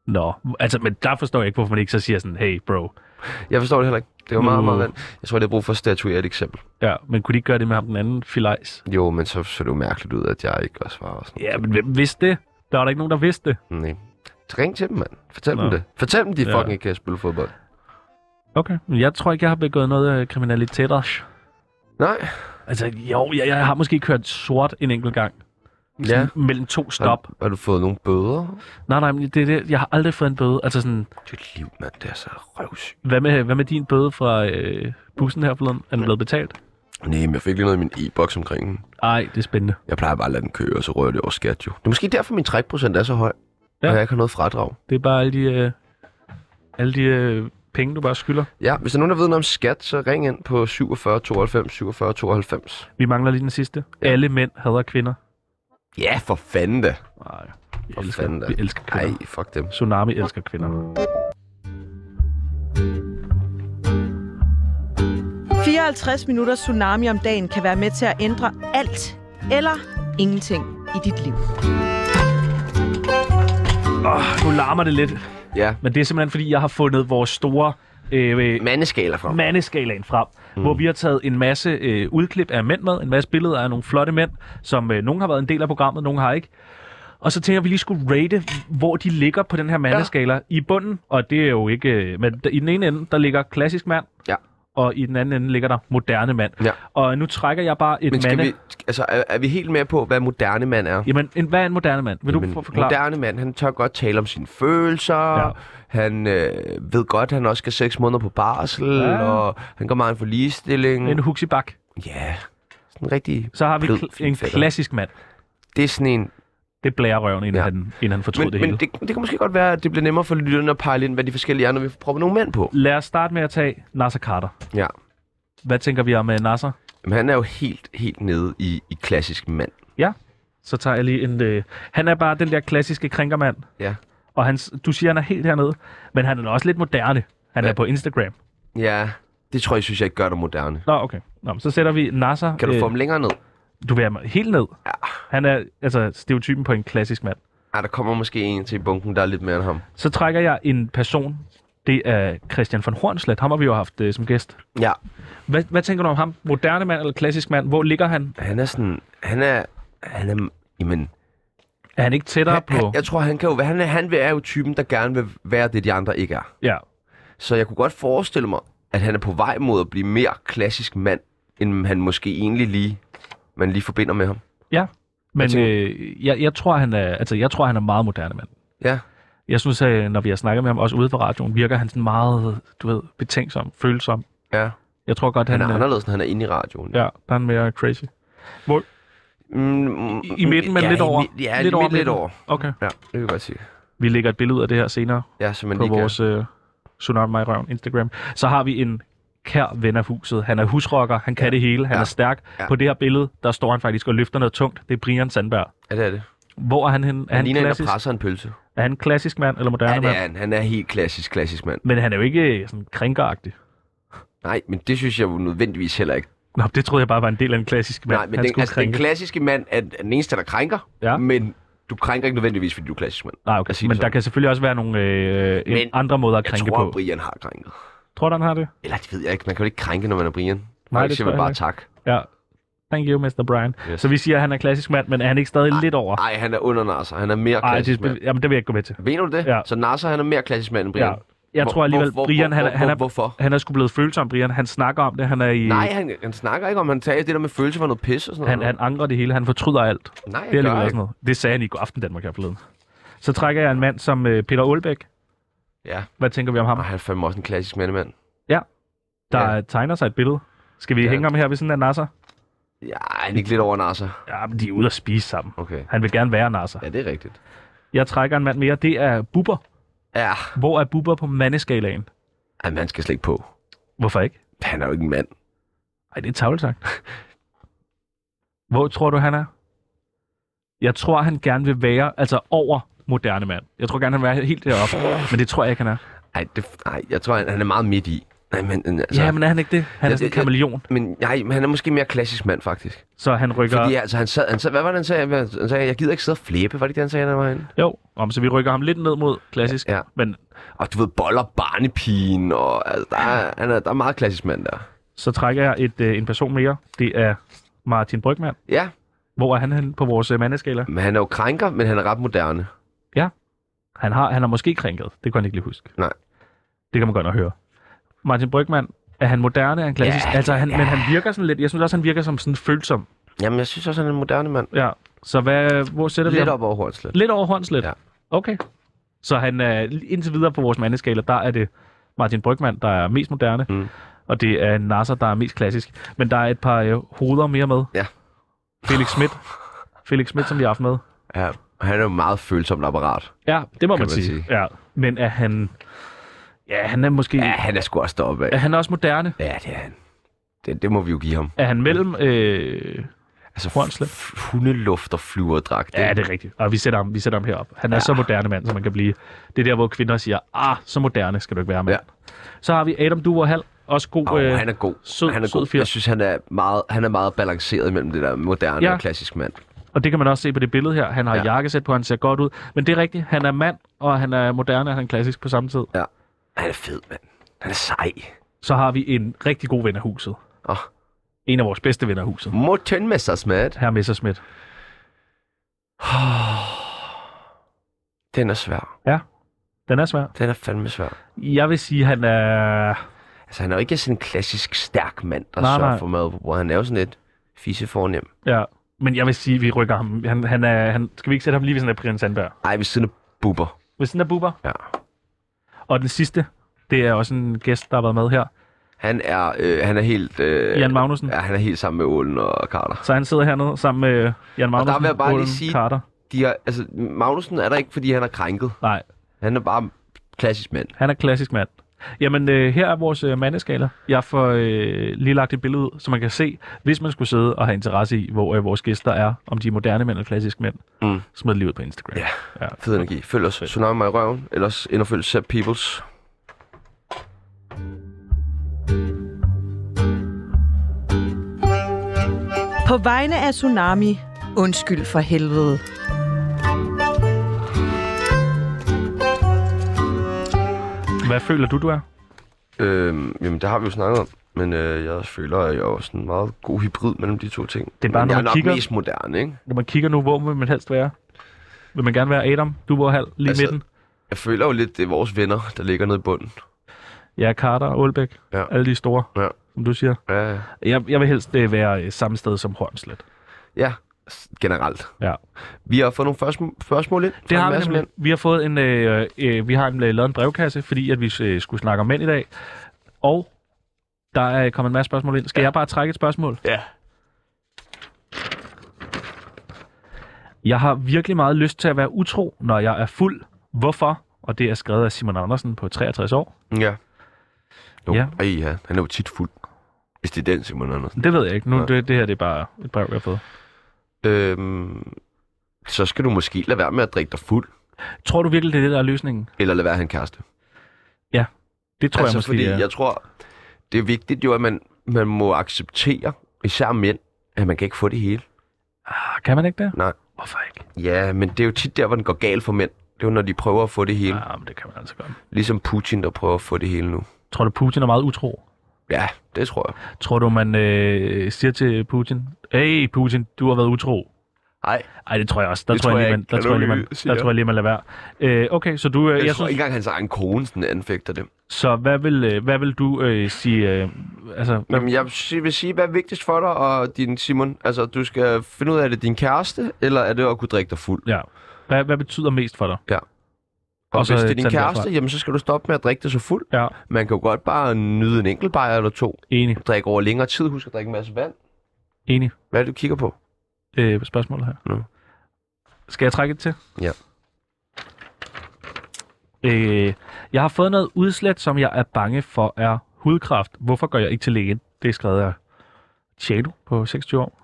Speaker 2: Nå, altså, men der forstår jeg ikke, hvorfor man ikke så siger sådan, hey bro.
Speaker 1: Jeg forstår det heller ikke. Det var
Speaker 2: Nu-
Speaker 1: meget, meget vand. Jeg tror, det er brug for at statuere et eksempel.
Speaker 2: Ja, men kunne de ikke gøre det med ham den anden filajs?
Speaker 1: Jo, men så så det jo mærkeligt ud, at jeg ikke også var og sådan
Speaker 2: Ja, men hvem vidste det? Der var der ikke nogen, der vidste det.
Speaker 1: noget. Nej. Så Ring til dem, mand. Fortæl
Speaker 2: Nå.
Speaker 1: dem det. Fortæl dem, de
Speaker 2: Ja.
Speaker 1: fucking ikke kan spille fodbold.
Speaker 2: Okay, men jeg tror ikke, jeg har begået noget øh, kriminalitet.
Speaker 1: Nej.
Speaker 2: Altså, jo, jeg, jeg har måske kørt sort en enkelt gang.
Speaker 1: Ja.
Speaker 2: Sådan Mellem to stop.
Speaker 1: Har, har du fået nogle bøder?
Speaker 2: Nej, nej, men det er det. Jeg har aldrig fået en bøde. Altså sådan,
Speaker 1: Dit liv, mand, det er så røvsygt.
Speaker 2: hvad med, hvad med din bøde fra øh, bussen her forleden? Er den blevet betalt?
Speaker 1: Nej, men jeg fik lige noget i min e-boks omkring den.
Speaker 2: Ej, det er spændende.
Speaker 1: Jeg plejer bare at lade den køre, og så rører det over skat jo. Det er måske derfor, min trækprocent er så høj,
Speaker 2: Ja.
Speaker 1: ja. og jeg ikke har noget fradrag.
Speaker 2: Det er bare alle de, øh, alle de øh, penge, du bare skylder.
Speaker 1: Ja, hvis der er nogen, der ved noget om skat, så ring ind på 47 92 47 92.
Speaker 2: Vi mangler lige den sidste. Ja. Alle mænd hader kvinder.
Speaker 1: Ja, for fanden da.
Speaker 2: Nej, vi
Speaker 1: For
Speaker 2: elsker,
Speaker 1: fanden da.
Speaker 2: vi elsker kvinder.
Speaker 1: Ej, fuck dem.
Speaker 2: Tsunami elsker kvinder.
Speaker 4: 54 minutter tsunami om dagen kan være med til at ændre alt eller ingenting i dit liv.
Speaker 2: Nu larmer det lidt,
Speaker 1: Ja.
Speaker 2: men det er simpelthen fordi, jeg har fundet vores store øh, øh,
Speaker 1: Mandeskaler fra.
Speaker 2: mandeskalaen frem, mm. hvor vi har taget en masse øh, udklip af mænd med, en masse billeder af nogle flotte mænd, som øh, nogen har været en del af programmet, nogen har ikke. Og så tænker jeg, at vi lige skulle rate, hvor de ligger på den her mandeskala. Ja. I bunden, og det er jo ikke... øh, Men d- i den ene ende, der ligger klassisk mand,
Speaker 1: Ja.
Speaker 2: og i den anden ende ligger der moderne mand.
Speaker 1: Ja.
Speaker 2: Og nu trækker jeg bare et
Speaker 1: Men skal
Speaker 2: mande...
Speaker 1: vi, altså, er, er vi helt med på, hvad moderne mand er?
Speaker 2: Jamen, en, hvad er en moderne mand? Vil
Speaker 1: Jamen,
Speaker 2: du for- forklare?
Speaker 1: moderne mand, han tør godt tale om sine følelser,
Speaker 2: Ja.
Speaker 1: ja. han øh, ved godt, han også skal seks måneder på barsel,
Speaker 2: Ja.
Speaker 1: ja. og han går meget ind for ligestilling.
Speaker 2: En huxibak.
Speaker 1: Ja, sådan en rigtig...
Speaker 2: Så har vi
Speaker 1: Blød,
Speaker 2: kl-
Speaker 1: fin
Speaker 2: en
Speaker 1: fætter.
Speaker 2: klassisk mand.
Speaker 1: Det er sådan en...
Speaker 2: Det blærer røven, inden, ja.
Speaker 1: Ja.
Speaker 2: han, inden han fortrød
Speaker 1: Men,
Speaker 2: det
Speaker 1: det, men
Speaker 2: hele.
Speaker 1: det, det kan måske godt være, at det bliver nemmere for lytterne at pejle ind, hvad de forskellige er, når vi får proppet nogle mænd på.
Speaker 2: Lad os starte med at tage Nasser Carter.
Speaker 1: Ja.
Speaker 2: Hvad tænker vi om uh, Nasser?
Speaker 1: Men han er jo helt, helt nede i, i klassisk mand.
Speaker 2: Så tager jeg lige en... Øh, han er bare den der klassiske krænkermand.
Speaker 1: Ja.
Speaker 2: Og hans, du siger, han er helt hernede, men han er da også lidt moderne. Han ja.
Speaker 1: Ja.
Speaker 2: er på Instagram.
Speaker 1: Ja, det tror jeg, synes jeg ikke gør dig moderne.
Speaker 2: Nå, okay. Nå, men så sætter vi Nasser... øh,
Speaker 1: Kan du få dem længere ned?
Speaker 2: Du vil have mig helt ned.
Speaker 1: Ja.
Speaker 2: Han er altså stereotypen på en klassisk mand.
Speaker 1: Ah, der kommer måske en til i bunken, der er lidt mere end ham.
Speaker 2: Så trækker jeg en person. Det er Christian von Hornslet. Ham har vi jo haft øh, som gæst.
Speaker 1: Ja,
Speaker 2: Hvad, hvad tænker du om ham? Moderne mand eller klassisk mand? Hvor ligger han?
Speaker 1: han er sådan... Han er... Han er... Jamen,
Speaker 2: Er han ikke tættere
Speaker 1: han,
Speaker 2: på...
Speaker 1: han, jeg tror, han kan jo... Han er, han er jo typen, der gerne vil være det, de andre ikke er.
Speaker 2: Ja.
Speaker 1: Så jeg kunne godt forestille mig, at han er på vej mod at blive mere klassisk mand, end han måske egentlig lige... Man lige forbinder med ham.
Speaker 2: Men jeg,
Speaker 1: tænker-
Speaker 2: øh, jeg, jeg, tror, han er, altså, jeg tror, han er meget moderne mand.
Speaker 1: Ja.
Speaker 2: Jeg synes, at øh, når vi har snakket med ham, også ude på radioen, virker han sådan meget, du ved, betænksom, følsom.
Speaker 1: Ja.
Speaker 2: Jeg tror godt,
Speaker 1: Han
Speaker 2: han,
Speaker 1: er anderledes, når han er inde i radioen.
Speaker 2: øh, Ja, der er han mere crazy.
Speaker 1: Mm,
Speaker 2: I- i midten, men
Speaker 1: ja,
Speaker 2: lidt
Speaker 1: i
Speaker 2: over.
Speaker 1: mi- Ja,
Speaker 2: Lidt
Speaker 1: lidt,
Speaker 2: over
Speaker 1: over, lidt
Speaker 2: midten.
Speaker 1: over.
Speaker 2: Okay.
Speaker 1: Ja, det kan jeg godt sige.
Speaker 2: Vi lægger et billede ud af det her senere
Speaker 1: Ja, så man
Speaker 2: på
Speaker 1: lige kan-
Speaker 2: vores øh, Tsunami i Røven Instagram. Så har vi en kær ven af huset. Han er husrocker, han kan det hele, han
Speaker 1: Ja.
Speaker 2: er stærk.
Speaker 1: Ja.
Speaker 2: På det her billede, der står han faktisk og løfter noget tungt. Det er Brian Sandberg.
Speaker 1: Ja, det er det.
Speaker 2: Hvor er han henne?
Speaker 1: Han,
Speaker 2: Er han,
Speaker 1: ligner en, der
Speaker 2: klassisk,
Speaker 1: presser en pølse.
Speaker 2: er han klassisk mand eller moderne
Speaker 1: Ja, det er han.
Speaker 2: mand?
Speaker 1: Han er helt klassisk, klassisk mand.
Speaker 2: Men han er jo ikke øh, sådan krænkeragtig.
Speaker 1: Nej, men det synes jeg jo nødvendigvis heller ikke.
Speaker 2: Nå, det troede jeg bare var en del af en klassisk mand.
Speaker 1: Nej, men
Speaker 2: Han
Speaker 1: den,
Speaker 2: skulle
Speaker 1: altså, den
Speaker 2: krænke.
Speaker 1: klassiske mand er er den eneste, der krænker.
Speaker 2: Ja.
Speaker 1: Men du krænker ikke nødvendigvis, fordi du er klassisk mand.
Speaker 2: Nej, okay.
Speaker 1: Lad os sige det
Speaker 2: Men der
Speaker 1: sådan.
Speaker 2: kan selvfølgelig også være nogle øh, øh,
Speaker 1: Men
Speaker 2: andre måder at
Speaker 1: Jeg
Speaker 2: krænke
Speaker 1: tror,
Speaker 2: på.
Speaker 1: Brian har krænket.
Speaker 2: Tror du, han har det?
Speaker 1: Eller det ved jeg ikke. Man kan jo ikke krænke, når man er Brian.
Speaker 2: Nej,
Speaker 1: Nej,
Speaker 2: det
Speaker 1: det siger
Speaker 2: tror
Speaker 1: man
Speaker 2: jeg
Speaker 1: bare
Speaker 2: ikke.
Speaker 1: tak.
Speaker 2: Ja. Thank you, Mr. Brian. Yes.
Speaker 1: Yes.
Speaker 2: Så vi siger, at han er klassisk mand, men er han ikke stadig lidt over?
Speaker 1: Nej, han er under Nasser. Han er mere
Speaker 2: Ej,
Speaker 1: klassisk
Speaker 2: det,
Speaker 1: mand.
Speaker 2: det, jamen, det vil jeg ikke gå med til.
Speaker 1: Mener du det?
Speaker 2: Ja.
Speaker 1: Så Nasser, han er mere klassisk mand end Brian?
Speaker 2: Ja. jeg
Speaker 1: Hvor-
Speaker 2: tror alligevel,
Speaker 1: hvor- hvor-
Speaker 2: Brian, han,
Speaker 1: hvor-
Speaker 2: han, er,
Speaker 1: Hvorfor?
Speaker 2: han er sgu blevet følsom, Brian. Han snakker om det, han er i...
Speaker 1: Nej, han, han snakker ikke om, han tager det der med følelse for noget pis og sådan
Speaker 2: Han,
Speaker 1: noget.
Speaker 2: han angrer det hele, han fortryder alt.
Speaker 1: Nej, han
Speaker 2: Det, er
Speaker 1: gør
Speaker 2: alligevel også
Speaker 1: ikke.
Speaker 2: noget. det sagde han i God Aften Danmark her forleden. Så trækker jeg en mand som øh, Peter Olbæk.
Speaker 1: Ja.
Speaker 2: Hvad tænker vi om ham?
Speaker 1: Ej, han er fandme også en klassisk mandemand.
Speaker 2: Der
Speaker 1: ja.
Speaker 2: ja. tegner sig et billede. Skal vi
Speaker 1: Ja.
Speaker 2: ja. hænge ham her ved sådan en nasser?
Speaker 1: Ja, han er ikke lidt over Nasser.
Speaker 2: Ja, men de er ude at spise sammen.
Speaker 1: Okay.
Speaker 2: Han vil gerne være nasser.
Speaker 1: Ja, det er rigtigt.
Speaker 2: Jeg trækker en mand mere. Det er Bubber.
Speaker 1: Ja,
Speaker 2: Hvor er Bubber på mandeskalaen?
Speaker 1: Jamen, han skal slet ikke på.
Speaker 2: Hvorfor ikke?
Speaker 1: Han er jo ikke en mand.
Speaker 2: Ej, det er tavlesagt. Hvor tror du, han er? Jeg tror, han gerne vil være altså over moderne mand. Jeg tror gerne, han vil være helt deroppe. Men det tror jeg ikke, han er.
Speaker 1: Ej, det, nej, jeg tror, han, han er meget midt i. Nej, men, altså,
Speaker 2: Så. Ja, men er han ikke det? Han er
Speaker 1: Ja,
Speaker 2: sådan en
Speaker 1: ja, ja.
Speaker 2: kameleon,
Speaker 1: men, nej, men han er måske mere klassisk mand, faktisk.
Speaker 2: så han rykker...
Speaker 1: Fordi altså, han sad, han sad, hvad var det, han sagde? Hvad- Han sagde, jeg gider ikke sidde og flæbe. Var det ikke det, han sagde, der var han?
Speaker 2: Jo, om, så vi rykker ham lidt ned mod klassisk.
Speaker 1: Ja, ja.
Speaker 2: Men
Speaker 1: Og du ved, boller barnepigen, og altså, der, er, han er, der er meget klassisk mand der.
Speaker 2: så trækker jeg et, øh, en person mere. Det er Martin Brygman.
Speaker 1: Ja,
Speaker 2: Hvor er han henne på vores øh, mandeskala?
Speaker 1: men han er jo krænker, men han er ret moderne.
Speaker 2: Han har, han har måske krænket. Det kunne han ikke lige huske.
Speaker 1: Nej.
Speaker 2: Det kan man godt nok høre. Martin Brygman, er han moderne? Er han klassisk?
Speaker 1: Ja,
Speaker 2: altså, han, men han virker sådan lidt... Jeg synes også, han virker som sådan følsom.
Speaker 1: Jamen, jeg synes også, han er en moderne mand.
Speaker 2: Ja. Så hvad, hvor sætter vi
Speaker 1: Lidt
Speaker 2: ham?
Speaker 1: op over Hornslet.
Speaker 2: Lidt over håndslet?
Speaker 1: Ja.
Speaker 2: Okay. Så han er indtil videre på vores mandeskala, der er det Martin Brygman, der er mest moderne,
Speaker 1: Mm.
Speaker 2: og det er Nasser, der er mest klassisk. Men der er et par øh, hoveder mere med.
Speaker 1: Ja.
Speaker 2: Felix Schmidt. Felix Schmidt, som vi har haft med.
Speaker 1: Ja, han er jo meget følsomt apparat.
Speaker 2: Ja, det må man,
Speaker 1: man
Speaker 2: sige.
Speaker 1: sige.
Speaker 2: Ja. Men er han... Ja, han er måske...
Speaker 1: Ja, han er sgu også deroppe
Speaker 2: Er
Speaker 1: af.
Speaker 2: han også moderne?
Speaker 1: Ja, det er han. Det, det må vi jo give ham.
Speaker 2: Er han mellem... Øh...
Speaker 1: Altså,
Speaker 2: Hornslet.
Speaker 1: f- hundeluft og flyverdragt.
Speaker 2: Ja, det er rigtigt. Og vi sætter ham, vi sætter ham herop. Han er ja. så moderne mand, som man kan blive. Det er der, hvor kvinder siger, ah, så moderne skal du ikke være, mand.
Speaker 1: Ja.
Speaker 2: Ja. Så har vi Adam Duer Hall. Også god... øh,
Speaker 1: Oh, han er god.
Speaker 2: sød-
Speaker 1: han er
Speaker 2: sød
Speaker 1: god.
Speaker 2: fyr.
Speaker 1: Jeg synes, han er meget, han er meget balanceret mellem det der moderne
Speaker 2: Ja.
Speaker 1: ja. og klassisk mand.
Speaker 2: Og det kan man også se på det billede her. Han har
Speaker 1: Ja.
Speaker 2: ja. jakkesæt på, han ser godt ud. Men det er rigtigt, han er mand, og han er moderne, og han er klassisk på samme tid.
Speaker 1: Han er fed, mand. Han er sej.
Speaker 2: Så har vi en rigtig god ven af huset.
Speaker 1: Oh.
Speaker 2: En af vores bedste venner af huset.
Speaker 1: Morten Messersmith.
Speaker 2: Herr Messerschmidt.
Speaker 1: Den er svær.
Speaker 2: Den er svær.
Speaker 1: Den er fandme svær.
Speaker 2: Jeg vil sige, han er...
Speaker 1: Altså, han er jo ikke sådan en klassisk stærk mand, der nej,
Speaker 2: Nej,
Speaker 1: sørger
Speaker 2: nej.
Speaker 1: nej. for mad på bordet. Han er jo sådan lidt fisefornem.
Speaker 2: Ja. Men jeg vil sige, at vi rykker ham. Han, han er, han, skal vi ikke sætte ham lige ved sådan af Brian Sandberg?
Speaker 1: Ej, ved siden af buber.
Speaker 2: Ved sådan af Bubber?
Speaker 1: Ja.
Speaker 2: Og den sidste, det er også en gæst, der har været med her.
Speaker 1: Han er, øh, han er helt... Øh,
Speaker 2: Jan Magnussen.
Speaker 1: Ja, han er helt sammen med Ålen og Carter.
Speaker 2: Så han sidder hernede sammen med øh, Jan
Speaker 1: vil
Speaker 2: Magnussen,
Speaker 1: jeg bare lige
Speaker 2: Roland
Speaker 1: sige-
Speaker 2: Carter.
Speaker 1: De er, altså, Magnussen er der ikke, fordi han er krænket.
Speaker 2: Nej,
Speaker 1: Han er bare klassisk mand.
Speaker 2: Han er klassisk mand. Jamen, øh, her er vores øh, mandeskala. Jeg får øh, lige lagt et billede ud, så man kan se, hvis man skulle sidde og have interesse i, hvor øh, vores gæster er, om de er moderne mænd eller klassiske mænd.
Speaker 1: Mm.
Speaker 2: Smid det lige ud på Instagram.
Speaker 1: Ja.
Speaker 2: ja.
Speaker 1: Fed energi. Følg os. Tsunami mig i røven. Ellers ind og følg Sepp Peoples.
Speaker 4: På vegne af Tsunami, undskyld for helvede.
Speaker 2: Hvad føler du, du er?
Speaker 1: Øhm, jamen, det har vi jo snakket om. Men øh, jeg føler, at jeg er sådan en meget god hybrid mellem de to ting.
Speaker 2: Det er bare,
Speaker 1: men
Speaker 2: når
Speaker 1: jeg er
Speaker 2: man
Speaker 1: nok
Speaker 2: kigger-
Speaker 1: mest moderne, ikke?
Speaker 2: Når man kigger nu, hvor vil man helst være? Vil man gerne være Adam? Du var halv lige altså,
Speaker 1: Altså-
Speaker 2: midten.
Speaker 1: Jeg føler jo lidt, det er vores venner, der ligger nede i bunden.
Speaker 2: Ja, Carter og Aalbæk.
Speaker 1: Ja.
Speaker 2: Alle de store,
Speaker 1: Ja.
Speaker 2: som du siger.
Speaker 1: Ja, ja.
Speaker 2: Jeg, jeg vil helst øh, være øh, samme sted som Hornslet.
Speaker 1: ja. s- Generelt.
Speaker 2: Ja.
Speaker 1: Vi har fået nogle først- spørgsmål ind.
Speaker 2: Det
Speaker 1: fra
Speaker 2: har
Speaker 1: en
Speaker 2: vi
Speaker 1: masse
Speaker 2: nemlig.
Speaker 1: mænd.
Speaker 2: Vi har fået en, øh, øh, vi har en, øh, lavet en brevkasse, fordi at vi øh, skulle snakke om mænd i dag. Og der er kommet en masse spørgsmål ind. Skal ja. jeg bare trække et spørgsmål?
Speaker 1: Ja.
Speaker 2: Jeg har virkelig meget lyst til at være utro, når jeg er fuld. Hvorfor? Og det er skrevet af Simon Andersen på 63 år.
Speaker 1: Ja. Jo.
Speaker 2: Ja.
Speaker 1: Ja. Ej, ja. Han er jo tit fuld. Hvis det er den, Simon Andersen.
Speaker 2: Det ved jeg ikke. Nu,
Speaker 1: Ja.
Speaker 2: det, det her det er bare et brev, jeg har fået.
Speaker 1: Øhm, så skal du måske lade være med at drikke dig fuld.
Speaker 2: Tror du virkelig, det er det, der er løsningen?
Speaker 1: Eller lade være at have en kæreste.
Speaker 2: Det tror
Speaker 1: altså,
Speaker 2: jeg måske,
Speaker 1: fordi
Speaker 2: ja.
Speaker 1: jeg tror, det er vigtigt jo, at man, man må acceptere, især mænd, at man kan ikke få det hele.
Speaker 2: Ah, kan man ikke det?
Speaker 1: Nej.
Speaker 2: Hvorfor ikke?
Speaker 1: Ja, men det er jo tit der, hvor den går galt for mænd. Det er jo, når de prøver at få det hele.
Speaker 2: Ja, men det kan man altså godt.
Speaker 1: Ligesom Putin, der prøver at få det hele nu.
Speaker 2: Tror du, Putin er meget utro?
Speaker 1: Ja, det tror jeg.
Speaker 2: Tror du, man øh, siger til Putin, Hey Putin, du har været utro.
Speaker 1: Nej,
Speaker 2: Ej, det tror jeg også. Der
Speaker 1: Det
Speaker 2: tror
Speaker 1: tror
Speaker 2: jeg lige,
Speaker 1: jeg
Speaker 2: man,
Speaker 1: ikke.
Speaker 2: der
Speaker 1: Kan
Speaker 2: tror jeg
Speaker 1: du
Speaker 2: lige, man,
Speaker 1: lige sige
Speaker 2: der
Speaker 1: det?
Speaker 2: tror jeg lige, man lader være. Øh, okay, så du, øh,
Speaker 1: jeg,
Speaker 2: jeg
Speaker 1: jeg tror
Speaker 2: synes,
Speaker 1: ikke engang, hans egen kone sådan anfægter det.
Speaker 2: så hvad vil, øh, hvad vil du øh, sige, øh, altså,
Speaker 1: Nå, men jeg vil sige- vil sige, hvad er vigtigst for dig og din Simon? Altså, du skal finde ud af, er det din kæreste, eller er det at kunne drikke dig fuld?
Speaker 2: ja, hvad, hvad betyder mest for dig?
Speaker 1: Og,
Speaker 2: Og så
Speaker 1: hvis det er
Speaker 2: tage
Speaker 1: din
Speaker 2: den derfra.
Speaker 1: kæreste, jamen, så skal du stoppe med at drikke dig så fuld.
Speaker 2: Ja,
Speaker 1: Man kan jo godt bare nyde en enkelt bajer eller to.
Speaker 2: enig,
Speaker 1: Drikke over længere tid. Husk at drikke en masse vand.
Speaker 2: enig
Speaker 1: Hvad er det, du kigger på?
Speaker 2: øh, spørgsmål her.
Speaker 1: Nå.
Speaker 2: Skal jeg trække et til?
Speaker 1: Ja.
Speaker 2: Øh, jeg har fået noget udslæt, som jeg er bange for er hudkræft. Hvorfor går jeg ikke til lægen? Det er skrevet af Tjano på 26 år.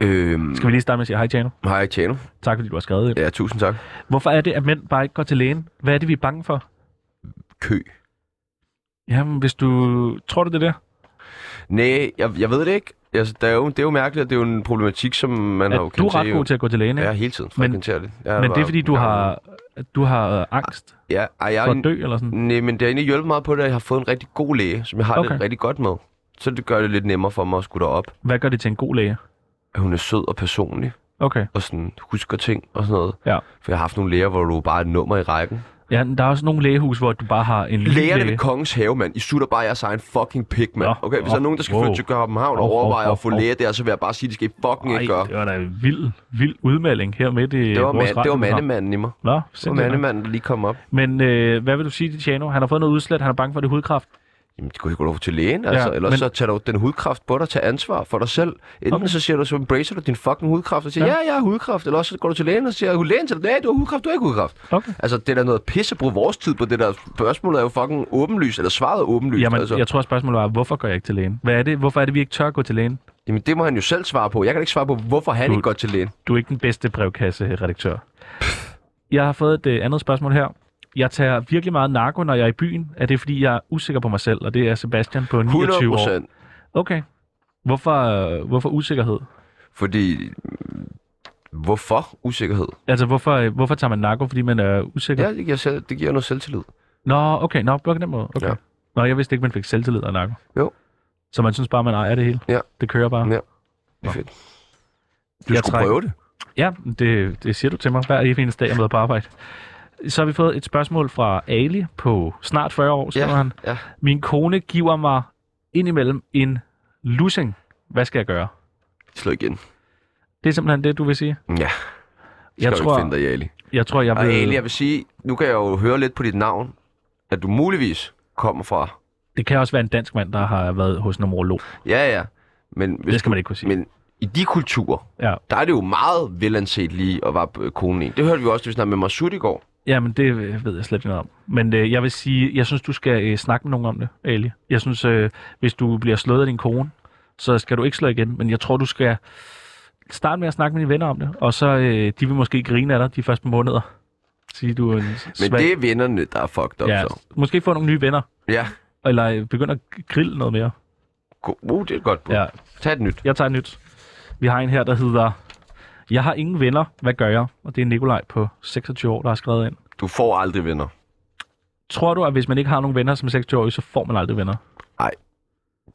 Speaker 1: Øhm,
Speaker 2: Skal vi lige starte med at sige hej Tjano?
Speaker 1: Hej, Tjano.
Speaker 2: Tak fordi du har skrevet det.
Speaker 1: Ja, tusind tak.
Speaker 2: Hvorfor er det, at mænd bare ikke går til lægen? Hvad er det, vi er bange for?
Speaker 1: Kø.
Speaker 2: Jamen, hvis du... Tror du det der?
Speaker 1: Nej, jeg, jeg ved det ikke. Altså, det, er jo, det er jo mærkeligt, at det er jo en problematik, som man
Speaker 2: At
Speaker 1: har jo
Speaker 2: du
Speaker 1: kendt
Speaker 2: er ret
Speaker 1: til,
Speaker 2: god
Speaker 1: jo.
Speaker 2: til at gå til lægen, ikke?
Speaker 1: Ja, hele tiden.
Speaker 2: Men-
Speaker 1: Men, det. Ja,
Speaker 2: Men det er, fordi du har, at du har øh, angst
Speaker 1: Ja, ej, jeg,
Speaker 2: for
Speaker 1: er
Speaker 2: at
Speaker 1: en,
Speaker 2: dø, eller sådan.
Speaker 1: nej, men det har egentlig hjulpet meget på det, at jeg har fået en rigtig god læge, som jeg har
Speaker 2: Okay.
Speaker 1: det rigtig godt med. Så det gør det lidt nemmere for mig at skulle derop.
Speaker 2: Hvad gør det til en god læge?
Speaker 1: At hun er sød og personlig,
Speaker 2: Okay.
Speaker 1: og sådan husker ting og sådan noget.
Speaker 2: Ja.
Speaker 1: For jeg har haft nogle læger, hvor du bare er et nummer i rækken.
Speaker 2: Ja, men der er også nogle lægehus, hvor du bare har en lille
Speaker 1: Lægerne
Speaker 2: læge.
Speaker 1: ved Kongens Have, mand. I sutter bare jeres egen fucking pik, mand.
Speaker 2: Nå,
Speaker 1: Okay, hvis
Speaker 2: nå,
Speaker 1: der er nogen, der skal
Speaker 2: wow.
Speaker 1: flytte til København og
Speaker 2: Hov, hov,
Speaker 1: overvejer
Speaker 2: hov,
Speaker 1: at få
Speaker 2: hov.
Speaker 1: læge der, så vil jeg bare sige, at det skal I fucking ikke gøre.
Speaker 2: det var da en vild, vild udmelding her midt i
Speaker 1: Det var,
Speaker 2: vores
Speaker 1: man, det var
Speaker 2: radioprogram.
Speaker 1: mandemanden i mig.
Speaker 2: Nå,
Speaker 1: Det var
Speaker 2: sindssygt.
Speaker 1: mandemanden, der lige kom op.
Speaker 2: Men øh, hvad vil du sige til Tjano? Han har fået noget udslæt, han er bange for det hudkræft.
Speaker 1: Jamen, det kunne ikke gå over til lægen, altså.
Speaker 2: Ja,
Speaker 1: Ja, Ellers
Speaker 2: men-
Speaker 1: men... så tager du den hudkræft på dig, tager ansvar for dig selv. Enten
Speaker 2: Okay.
Speaker 1: okay. så siger du, så embracer du din fucking hudkræft, og siger,
Speaker 2: Ja.
Speaker 1: ja, ja jeg har hudkræft. Eller også så går du til lægen og siger, lægen til dig, nej, du har hudkræft, du har ikke hudkræft.
Speaker 2: Okay.
Speaker 1: Altså, det er da noget pisse at bruge vores tid på det der. Spørgsmålet er jo fucking åbenlyst, eller svaret er åbenlyst.
Speaker 2: Jamen,
Speaker 1: altså.
Speaker 2: jeg tror spørgsmålet var, hvorfor går jeg ikke til lægen? Hvad er det? Hvorfor er det, vi ikke tør at gå til lægen?
Speaker 1: Jamen, det må han jo selv svare på. Jeg kan da ikke svare på, hvorfor han
Speaker 2: Du-
Speaker 1: ikke går til lægen.
Speaker 2: Du er ikke den bedste brevkasse-redaktør. Jeg har fået et øh, andet spørgsmål her. Jeg tager virkelig meget narko, når jeg er i byen. Er det, fordi jeg er usikker på mig selv? Og det er Sebastian på
Speaker 1: 100
Speaker 2: 29 år.
Speaker 1: procent.
Speaker 2: Okay. Hvorfor, øh, hvorfor usikkerhed?
Speaker 1: Fordi, mm, hvorfor usikkerhed?
Speaker 2: Altså, hvorfor, øh, hvorfor tager man narko, fordi man er usikker?
Speaker 1: Ja, det giver, selv, det giver noget selvtillid.
Speaker 2: Nå, okay. Nå, på den måde. Okay. Ja.
Speaker 1: Ja.
Speaker 2: Nå, jeg vidste ikke, man fik selvtillid af narko.
Speaker 1: Jo.
Speaker 2: Så man synes bare, man ejer det hele?
Speaker 1: Ja.
Speaker 2: Det kører bare?
Speaker 1: Ja. Det er fedt. Du
Speaker 2: Jeg
Speaker 1: jeg skulle
Speaker 2: trækker-
Speaker 1: prøve det.
Speaker 2: Ja, det, det siger du til mig hver evig eneste dag, jeg møder på arbejde. Så har vi fået et spørgsmål fra Ali på snart 40 år, skriver
Speaker 1: Ja,
Speaker 2: han.
Speaker 1: ja.
Speaker 2: Min kone giver mig indimellem en lussing. Hvad skal jeg gøre?
Speaker 1: Slå igen.
Speaker 2: Det er simpelthen det, du vil sige.
Speaker 1: Ja,
Speaker 2: Jeg
Speaker 1: skal du
Speaker 2: tror,
Speaker 1: ikke finde dig, i, Ali.
Speaker 2: jeg tror, jeg
Speaker 1: Og
Speaker 2: vil...
Speaker 1: Ali, jeg vil sige, nu kan jeg jo høre lidt på dit navn, at du muligvis kommer fra...
Speaker 2: Det kan også være en dansk mand, der har været hos en numerolog.
Speaker 1: Ja, ja. Men hvis
Speaker 2: Det skal
Speaker 1: du-
Speaker 2: man ikke kunne sige.
Speaker 1: Men i de kulturer,
Speaker 2: Ja.
Speaker 1: der er det jo meget velanset lige at være øh, konen i. Det hørte vi også, da vi snakkede med Masud i går.
Speaker 2: Jamen, det øh, ved jeg slet ikke noget om. Men øh, jeg vil sige, jeg synes, du skal øh, snakke med nogen om det, Ali. Jeg synes, øh, hvis du bliver slået af din kone, så skal du ikke slå igen. Men jeg tror, du skal starte med at snakke med dine venner om det. Og så, øh, de vil måske grine af dig de første måneder. Sige, du er en
Speaker 1: Men
Speaker 2: svag-
Speaker 1: det er vennerne, der er fucked up,
Speaker 2: ja,
Speaker 1: så.
Speaker 2: Måske få nogle nye venner.
Speaker 1: Ja.
Speaker 2: Eller øh, begynde at grille noget mere.
Speaker 1: Go- Uh, det er et godt bud.
Speaker 2: Ja,
Speaker 1: Tag et nyt.
Speaker 2: jeg tager et nyt. Vi har en her, der hedder... Jeg har ingen venner. Hvad gør jeg? Og det er Nikolaj på 26 år, der har skrevet ind.
Speaker 1: Du får aldrig venner.
Speaker 2: Tror du, at hvis man ikke har nogen venner som 26-årig, så får man aldrig venner?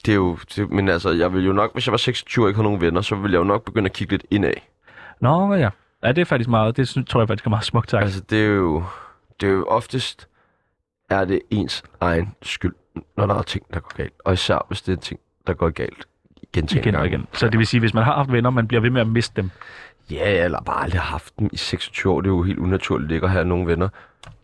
Speaker 1: Det er jo... Det, men altså, jeg vil jo nok... Hvis jeg var 26 og ikke havde nogen venner, så ville jeg jo nok begynde at kigge lidt indad.
Speaker 2: Nå, ja. Ja, det er faktisk meget, det synes, tror jeg faktisk er meget smukt tak. Altså,
Speaker 1: Altså, det er jo... Det er jo oftest... Er det ens egen skyld, når der er ting, der går galt. Og især, hvis det er ting, der går galt gentagende
Speaker 2: igen og
Speaker 1: gange.
Speaker 2: igen. Så det vil sige, hvis man har haft venner, man bliver ved med at miste dem.
Speaker 1: Ja, eller bare aldrig har haft dem i 26 år. Det er jo helt unaturligt ikke at have nogen venner.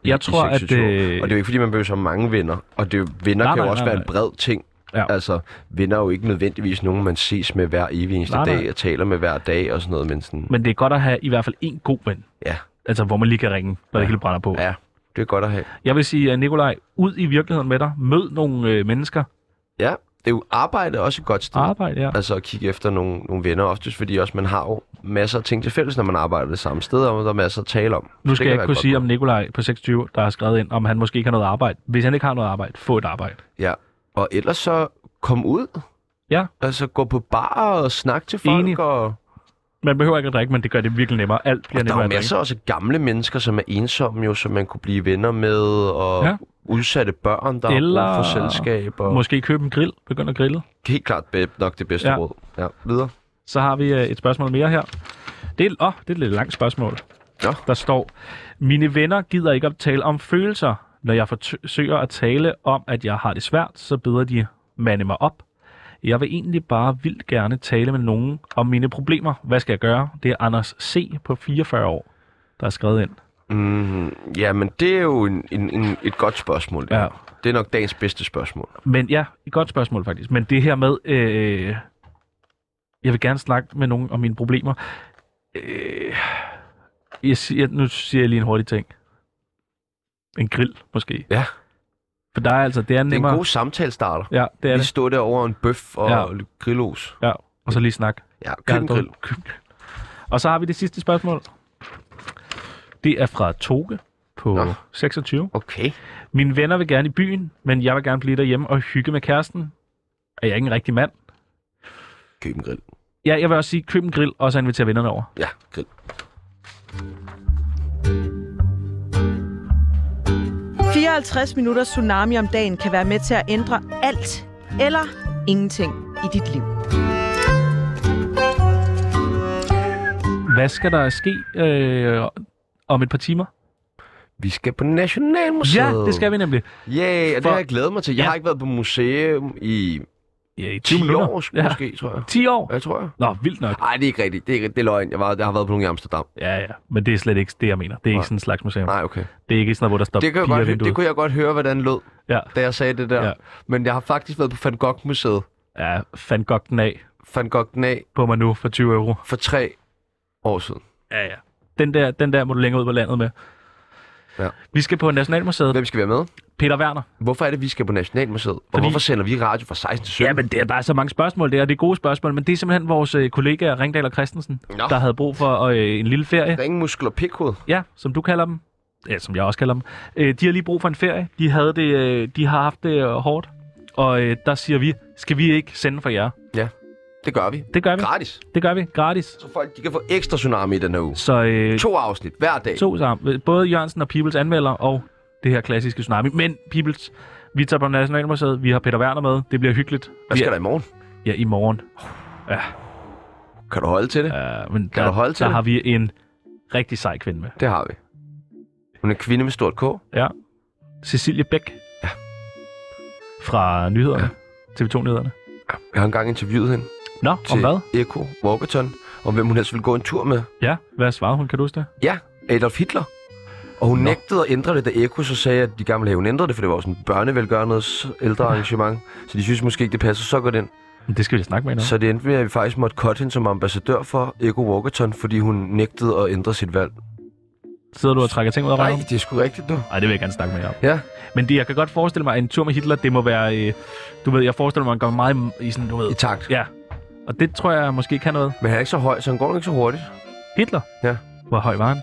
Speaker 1: i-
Speaker 2: Jeg
Speaker 1: i
Speaker 2: tror, at,
Speaker 1: 26 år.
Speaker 2: øh,
Speaker 1: Og det er jo ikke, fordi man behøver så mange venner. Og det, er jo- venner nej,
Speaker 2: Nej,
Speaker 1: kan
Speaker 2: nej,
Speaker 1: jo også
Speaker 2: nej,
Speaker 1: være en bred ting.
Speaker 2: Ja.
Speaker 1: Altså, venner er jo ikke nødvendigvis nogen, man ses med hver evig eneste
Speaker 2: Nej,
Speaker 1: nej,
Speaker 2: nej.
Speaker 1: dag, og taler med hver dag og sådan noget. Men sådan,
Speaker 2: Men det er godt at have i hvert fald en god ven.
Speaker 1: ja,
Speaker 2: Altså, hvor man lige kan ringe, når ja. det hele brænder på. Ja.
Speaker 1: ja, det er godt at have.
Speaker 2: Jeg vil sige, at Nikolaj, ud i virkeligheden med dig. Mød nogle øh, mennesker.
Speaker 1: Ja, det er jo arbejde er også et godt sted.
Speaker 2: Arbejde, ja.
Speaker 1: Altså at kigge efter nogle, nogle venner oftest, fordi også man har jo masser af ting til fælles, når man arbejder det samme sted, og der er masser at tale om.
Speaker 2: Nu
Speaker 1: Det
Speaker 2: skal
Speaker 1: kan
Speaker 2: jeg ikke
Speaker 1: være
Speaker 2: kunne
Speaker 1: godt.
Speaker 2: sige om Nikolaj på 26, der har skrevet ind, om han måske ikke har noget arbejde. Hvis han ikke har noget arbejde, få et arbejde.
Speaker 1: Ja, og ellers så kom ud.
Speaker 2: Ja.
Speaker 1: Altså gå på bar og snakke til folk.
Speaker 2: Enig.
Speaker 1: Og,
Speaker 2: Man behøver ikke at drikke, men det gør det virkelig nemmere. Alt bliver
Speaker 1: og der er
Speaker 2: nemmere
Speaker 1: jo
Speaker 2: at drikke.
Speaker 1: masser også af gamle mennesker, som er ensomme jo, som man kunne blive venner med, og
Speaker 2: Ja.
Speaker 1: ja. udsatte børn, der Eller...
Speaker 2: Eller-
Speaker 1: har brug for selskab. Og...
Speaker 2: Måske købe en grill. Begynd at grille.
Speaker 1: Helt klart be- nok det bedste
Speaker 2: Ja.
Speaker 1: ja. råd. Ja, videre.
Speaker 2: Så har vi øh, et spørgsmål mere her. Det er, oh, det er et lidt langt spørgsmål.
Speaker 1: Nå.
Speaker 2: Der står, mine venner gider ikke at tale om følelser. Når jeg forsøger at tale om, at jeg har det svært, så beder de mande mig op. Jeg vil egentlig bare vildt gerne tale med nogen om mine problemer. Hvad skal jeg gøre? Det er Anders C. på 44 år, der er skrevet ind.
Speaker 1: Mm, ja, men det er jo en, en, en, et godt spørgsmål. Det,
Speaker 2: Ja.
Speaker 1: ja. det er nok dagens bedste spørgsmål.
Speaker 2: Men ja, et godt spørgsmål faktisk. Men det her med, øh, jeg vil gerne snakke med nogen om mine problemer. Øh, jeg siger, nu siger jeg lige en hurtig ting. En grill, måske.
Speaker 1: Ja.
Speaker 2: For der er altså, det er
Speaker 1: Det er
Speaker 2: nemmere.
Speaker 1: en god samtalestarter.
Speaker 2: Ja, det er
Speaker 1: Lige
Speaker 2: det.
Speaker 1: stå der over en bøf og
Speaker 2: Ja.
Speaker 1: ja. grillos.
Speaker 2: Ja, og så lige snak.
Speaker 1: Ja, køb
Speaker 2: Gerne
Speaker 1: en
Speaker 2: dog.
Speaker 1: grill.
Speaker 2: Køb en grill. Og så har vi det sidste spørgsmål. Det er fra Toge på
Speaker 1: Nå.
Speaker 2: 26.
Speaker 1: Okay.
Speaker 2: Mine venner vil gerne i byen, men jeg vil gerne blive derhjemme og hygge med kæresten. Er jeg ikke en rigtig mand?
Speaker 1: Køb en grill.
Speaker 2: Ja, jeg vil også sige, køb en grill, og så invitere vennerne over.
Speaker 1: Ja, grill.
Speaker 4: det. 54 minutters tsunami om dagen kan være med til at ændre alt eller ingenting i dit liv.
Speaker 2: Hvad skal der ske øh, om et par timer?
Speaker 1: Vi skal på Nationalmuseet.
Speaker 2: Ja, det skal vi nemlig.
Speaker 1: Ja, yeah, og
Speaker 2: For-
Speaker 1: det har jeg glædet mig til. Jeg
Speaker 2: Ja.
Speaker 1: har ikke været på museum i
Speaker 2: Ja, i
Speaker 1: 10
Speaker 2: minutter.
Speaker 1: år,
Speaker 2: Ja.
Speaker 1: måske, tror jeg.
Speaker 2: 10 år?
Speaker 1: Jeg tror jeg.
Speaker 2: Nå, vildt nok.
Speaker 1: Nej, det er ikke rigtigt. Det er, ikke- det er løgn. Jeg, var, jeg har været på nogle i Amsterdam.
Speaker 2: Ja, ja. Men det er slet ikke det, jeg mener. Det er ikke
Speaker 1: Nej.
Speaker 2: sådan en slags museum.
Speaker 1: Nej, okay.
Speaker 2: Det er ikke sådan noget, hvor der står
Speaker 1: Det, kan jeg godt, hø-
Speaker 2: pigervinduet.
Speaker 1: det kunne jeg godt høre, hvordan lød,
Speaker 2: Ja,
Speaker 1: da jeg sagde det der.
Speaker 2: Ja.
Speaker 1: Ja. Men jeg har faktisk været på Van Gogh-museet.
Speaker 2: ja fandt godt den af
Speaker 1: Van Gogh den af
Speaker 2: på mig nu for 20 euro.
Speaker 1: for tre år siden.
Speaker 2: Ja, ja. Den der, den der må du længere ud på landet med.
Speaker 1: Ja.
Speaker 2: Vi skal på Nationalmuseet.
Speaker 1: Hvem skal være med?
Speaker 2: Peter Werner.
Speaker 1: Hvorfor er det, vi skal på Nationalmuseet? Og
Speaker 2: Fordi-
Speaker 1: hvorfor sender vi radio fra 16 til 17?
Speaker 2: Ja, men det, er- der er så mange spørgsmål der, og det er gode spørgsmål, men det er simpelthen vores øh, kollegaer Ringdal og Christensen,
Speaker 1: Nå.
Speaker 2: der havde brug for øh, en lille ferie.
Speaker 1: Ringmuskel og pikhoved.
Speaker 2: Ja, som du kalder dem. Ja, som jeg også kalder dem. Øh, de har lige brug for en ferie. De, havde det, øh, de har haft det øh, hårdt. Og øh, der siger vi, skal vi ikke sende for jer?
Speaker 1: Det gør vi.
Speaker 2: Det gør vi.
Speaker 1: Gratis.
Speaker 2: Det gør vi. Gratis.
Speaker 1: Så folk de kan få ekstra tsunami i den her uge.
Speaker 2: Så øh,
Speaker 1: To afsnit hver dag.
Speaker 2: to sammen. Både Jørgensen og Peoples anmelder, og det her klassiske tsunami. Men Peoples, vi tager på Nationalmuseet. Vi har Peter Werner med. Det bliver hyggeligt.
Speaker 1: Hvad skal
Speaker 2: ja,
Speaker 1: der i morgen?
Speaker 2: ja, i morgen.
Speaker 1: Kan du holde til det? Ja.
Speaker 2: Uh, men
Speaker 1: Kan
Speaker 2: der,
Speaker 1: du holde til
Speaker 2: der
Speaker 1: det?
Speaker 2: har vi en rigtig sej kvinde med.
Speaker 1: Det har vi. Hun er kvinde med stort K.
Speaker 2: Ja. Cecilie Bæk. Ja. Fra nyhederne. Ja. TV2-nyhederne.
Speaker 1: Jeg har engang interviewet hende
Speaker 2: Nå, om
Speaker 1: til
Speaker 2: hvad?
Speaker 1: Eko Walkerton, om hvem hun helst ville gå en tur med.
Speaker 2: Ja, hvad svarede hun? Kan du huske det?
Speaker 1: Ja, Adolf Hitler. Og hun
Speaker 2: Nå.
Speaker 1: Nå. nægtede at ændre det, da Eko så sagde, at de gerne ville have, hun ændrede det, for det var jo sådan et børnevelgørendes ældre arrangement. Så de synes måske ikke, det passer så godt ind.
Speaker 2: Men det skal vi da snakke med hende om.
Speaker 1: Så det endte med, at vi faktisk måtte cutte hende som ambassadør for Eko Walkerton, fordi hun nægtede at ændre sit valg.
Speaker 2: Sidder du og trækker ting ud af
Speaker 1: Nej,
Speaker 2: røven?
Speaker 1: det er sgu rigtigt nu.
Speaker 2: Nej, det vil jeg gerne snakke med jer om.
Speaker 1: Ja.
Speaker 2: Men det, jeg kan godt forestille mig, at en tur med Hitler, det må være... Øh, du ved, jeg forestiller mig, at han går meget i sådan, du
Speaker 1: I
Speaker 2: ved...
Speaker 1: takt.
Speaker 2: Ja. Og det tror jeg måske kan noget.
Speaker 1: Men han er ikke så høj, så han går nok ikke så hurtigt.
Speaker 2: Hitler?
Speaker 1: Ja.
Speaker 2: Hvor høj var han?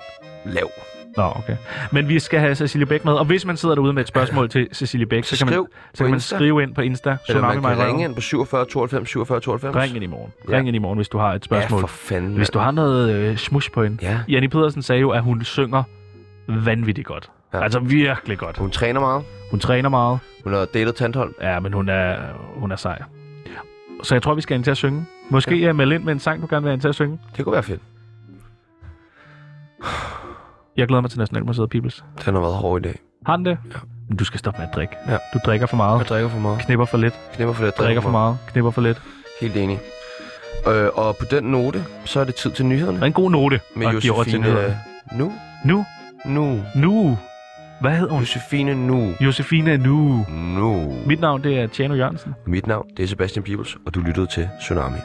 Speaker 1: Lav.
Speaker 2: Nå, okay. Men vi skal have Cecilie Bæk med. Og hvis man sidder derude med et spørgsmål til Cecilie Bæk, så
Speaker 1: Så
Speaker 2: kan man,
Speaker 1: skriv
Speaker 2: så kan man
Speaker 1: Insta.
Speaker 2: skrive ind på Insta.
Speaker 1: Eller
Speaker 2: Tsunami
Speaker 1: man kan
Speaker 2: Mig
Speaker 1: ringe ind på 47 92 47 92.
Speaker 2: Ring ind i morgen.
Speaker 1: Ja.
Speaker 2: Ring ind i morgen, hvis du har et spørgsmål.
Speaker 1: Ja, for fanden.
Speaker 2: hvis du har noget øh, smush på hende.
Speaker 1: Ja,
Speaker 2: Janni Pedersen sagde jo, at hun synger vanvittigt godt. Ja.
Speaker 1: Ja.
Speaker 2: Altså virkelig godt.
Speaker 1: hun træner meget.
Speaker 2: Hun træner meget.
Speaker 1: Hun har datet Tantholm.
Speaker 2: Ja, men hun er, hun er sej. Så jeg tror, vi skal ind til at synge. Måske ja. jeg melder ind med en sang, du gerne vil ind til at synge.
Speaker 1: Det kunne være fedt.
Speaker 2: Jeg glæder mig til Nationalmuseet Peoples.
Speaker 1: Den har været hård i dag.
Speaker 2: Har den det? Ja. Men du skal stoppe med at drikke.
Speaker 1: Ja.
Speaker 2: Du drikker for meget,
Speaker 1: Jeg drikker for meget.
Speaker 2: knipper for lidt,
Speaker 1: Knipper for lidt.
Speaker 2: drikker for meget, knipper for lidt.
Speaker 1: Helt enig. Øh, og på den note, så er det tid til nyhederne.
Speaker 2: Det er en god note
Speaker 1: Med
Speaker 2: at give over til
Speaker 1: Josefine øh,
Speaker 2: nyhederne.
Speaker 1: Nu.
Speaker 2: Nu,
Speaker 1: Nu.
Speaker 2: nu. Hvad hedder hun?
Speaker 1: Josefine Nu.
Speaker 2: Josefine nu.
Speaker 1: Nu.
Speaker 2: Mit navn, det er Tjano Jørgensen.
Speaker 1: Mit navn, det er Sebastian Pibels, og du lyttede til Tsunami.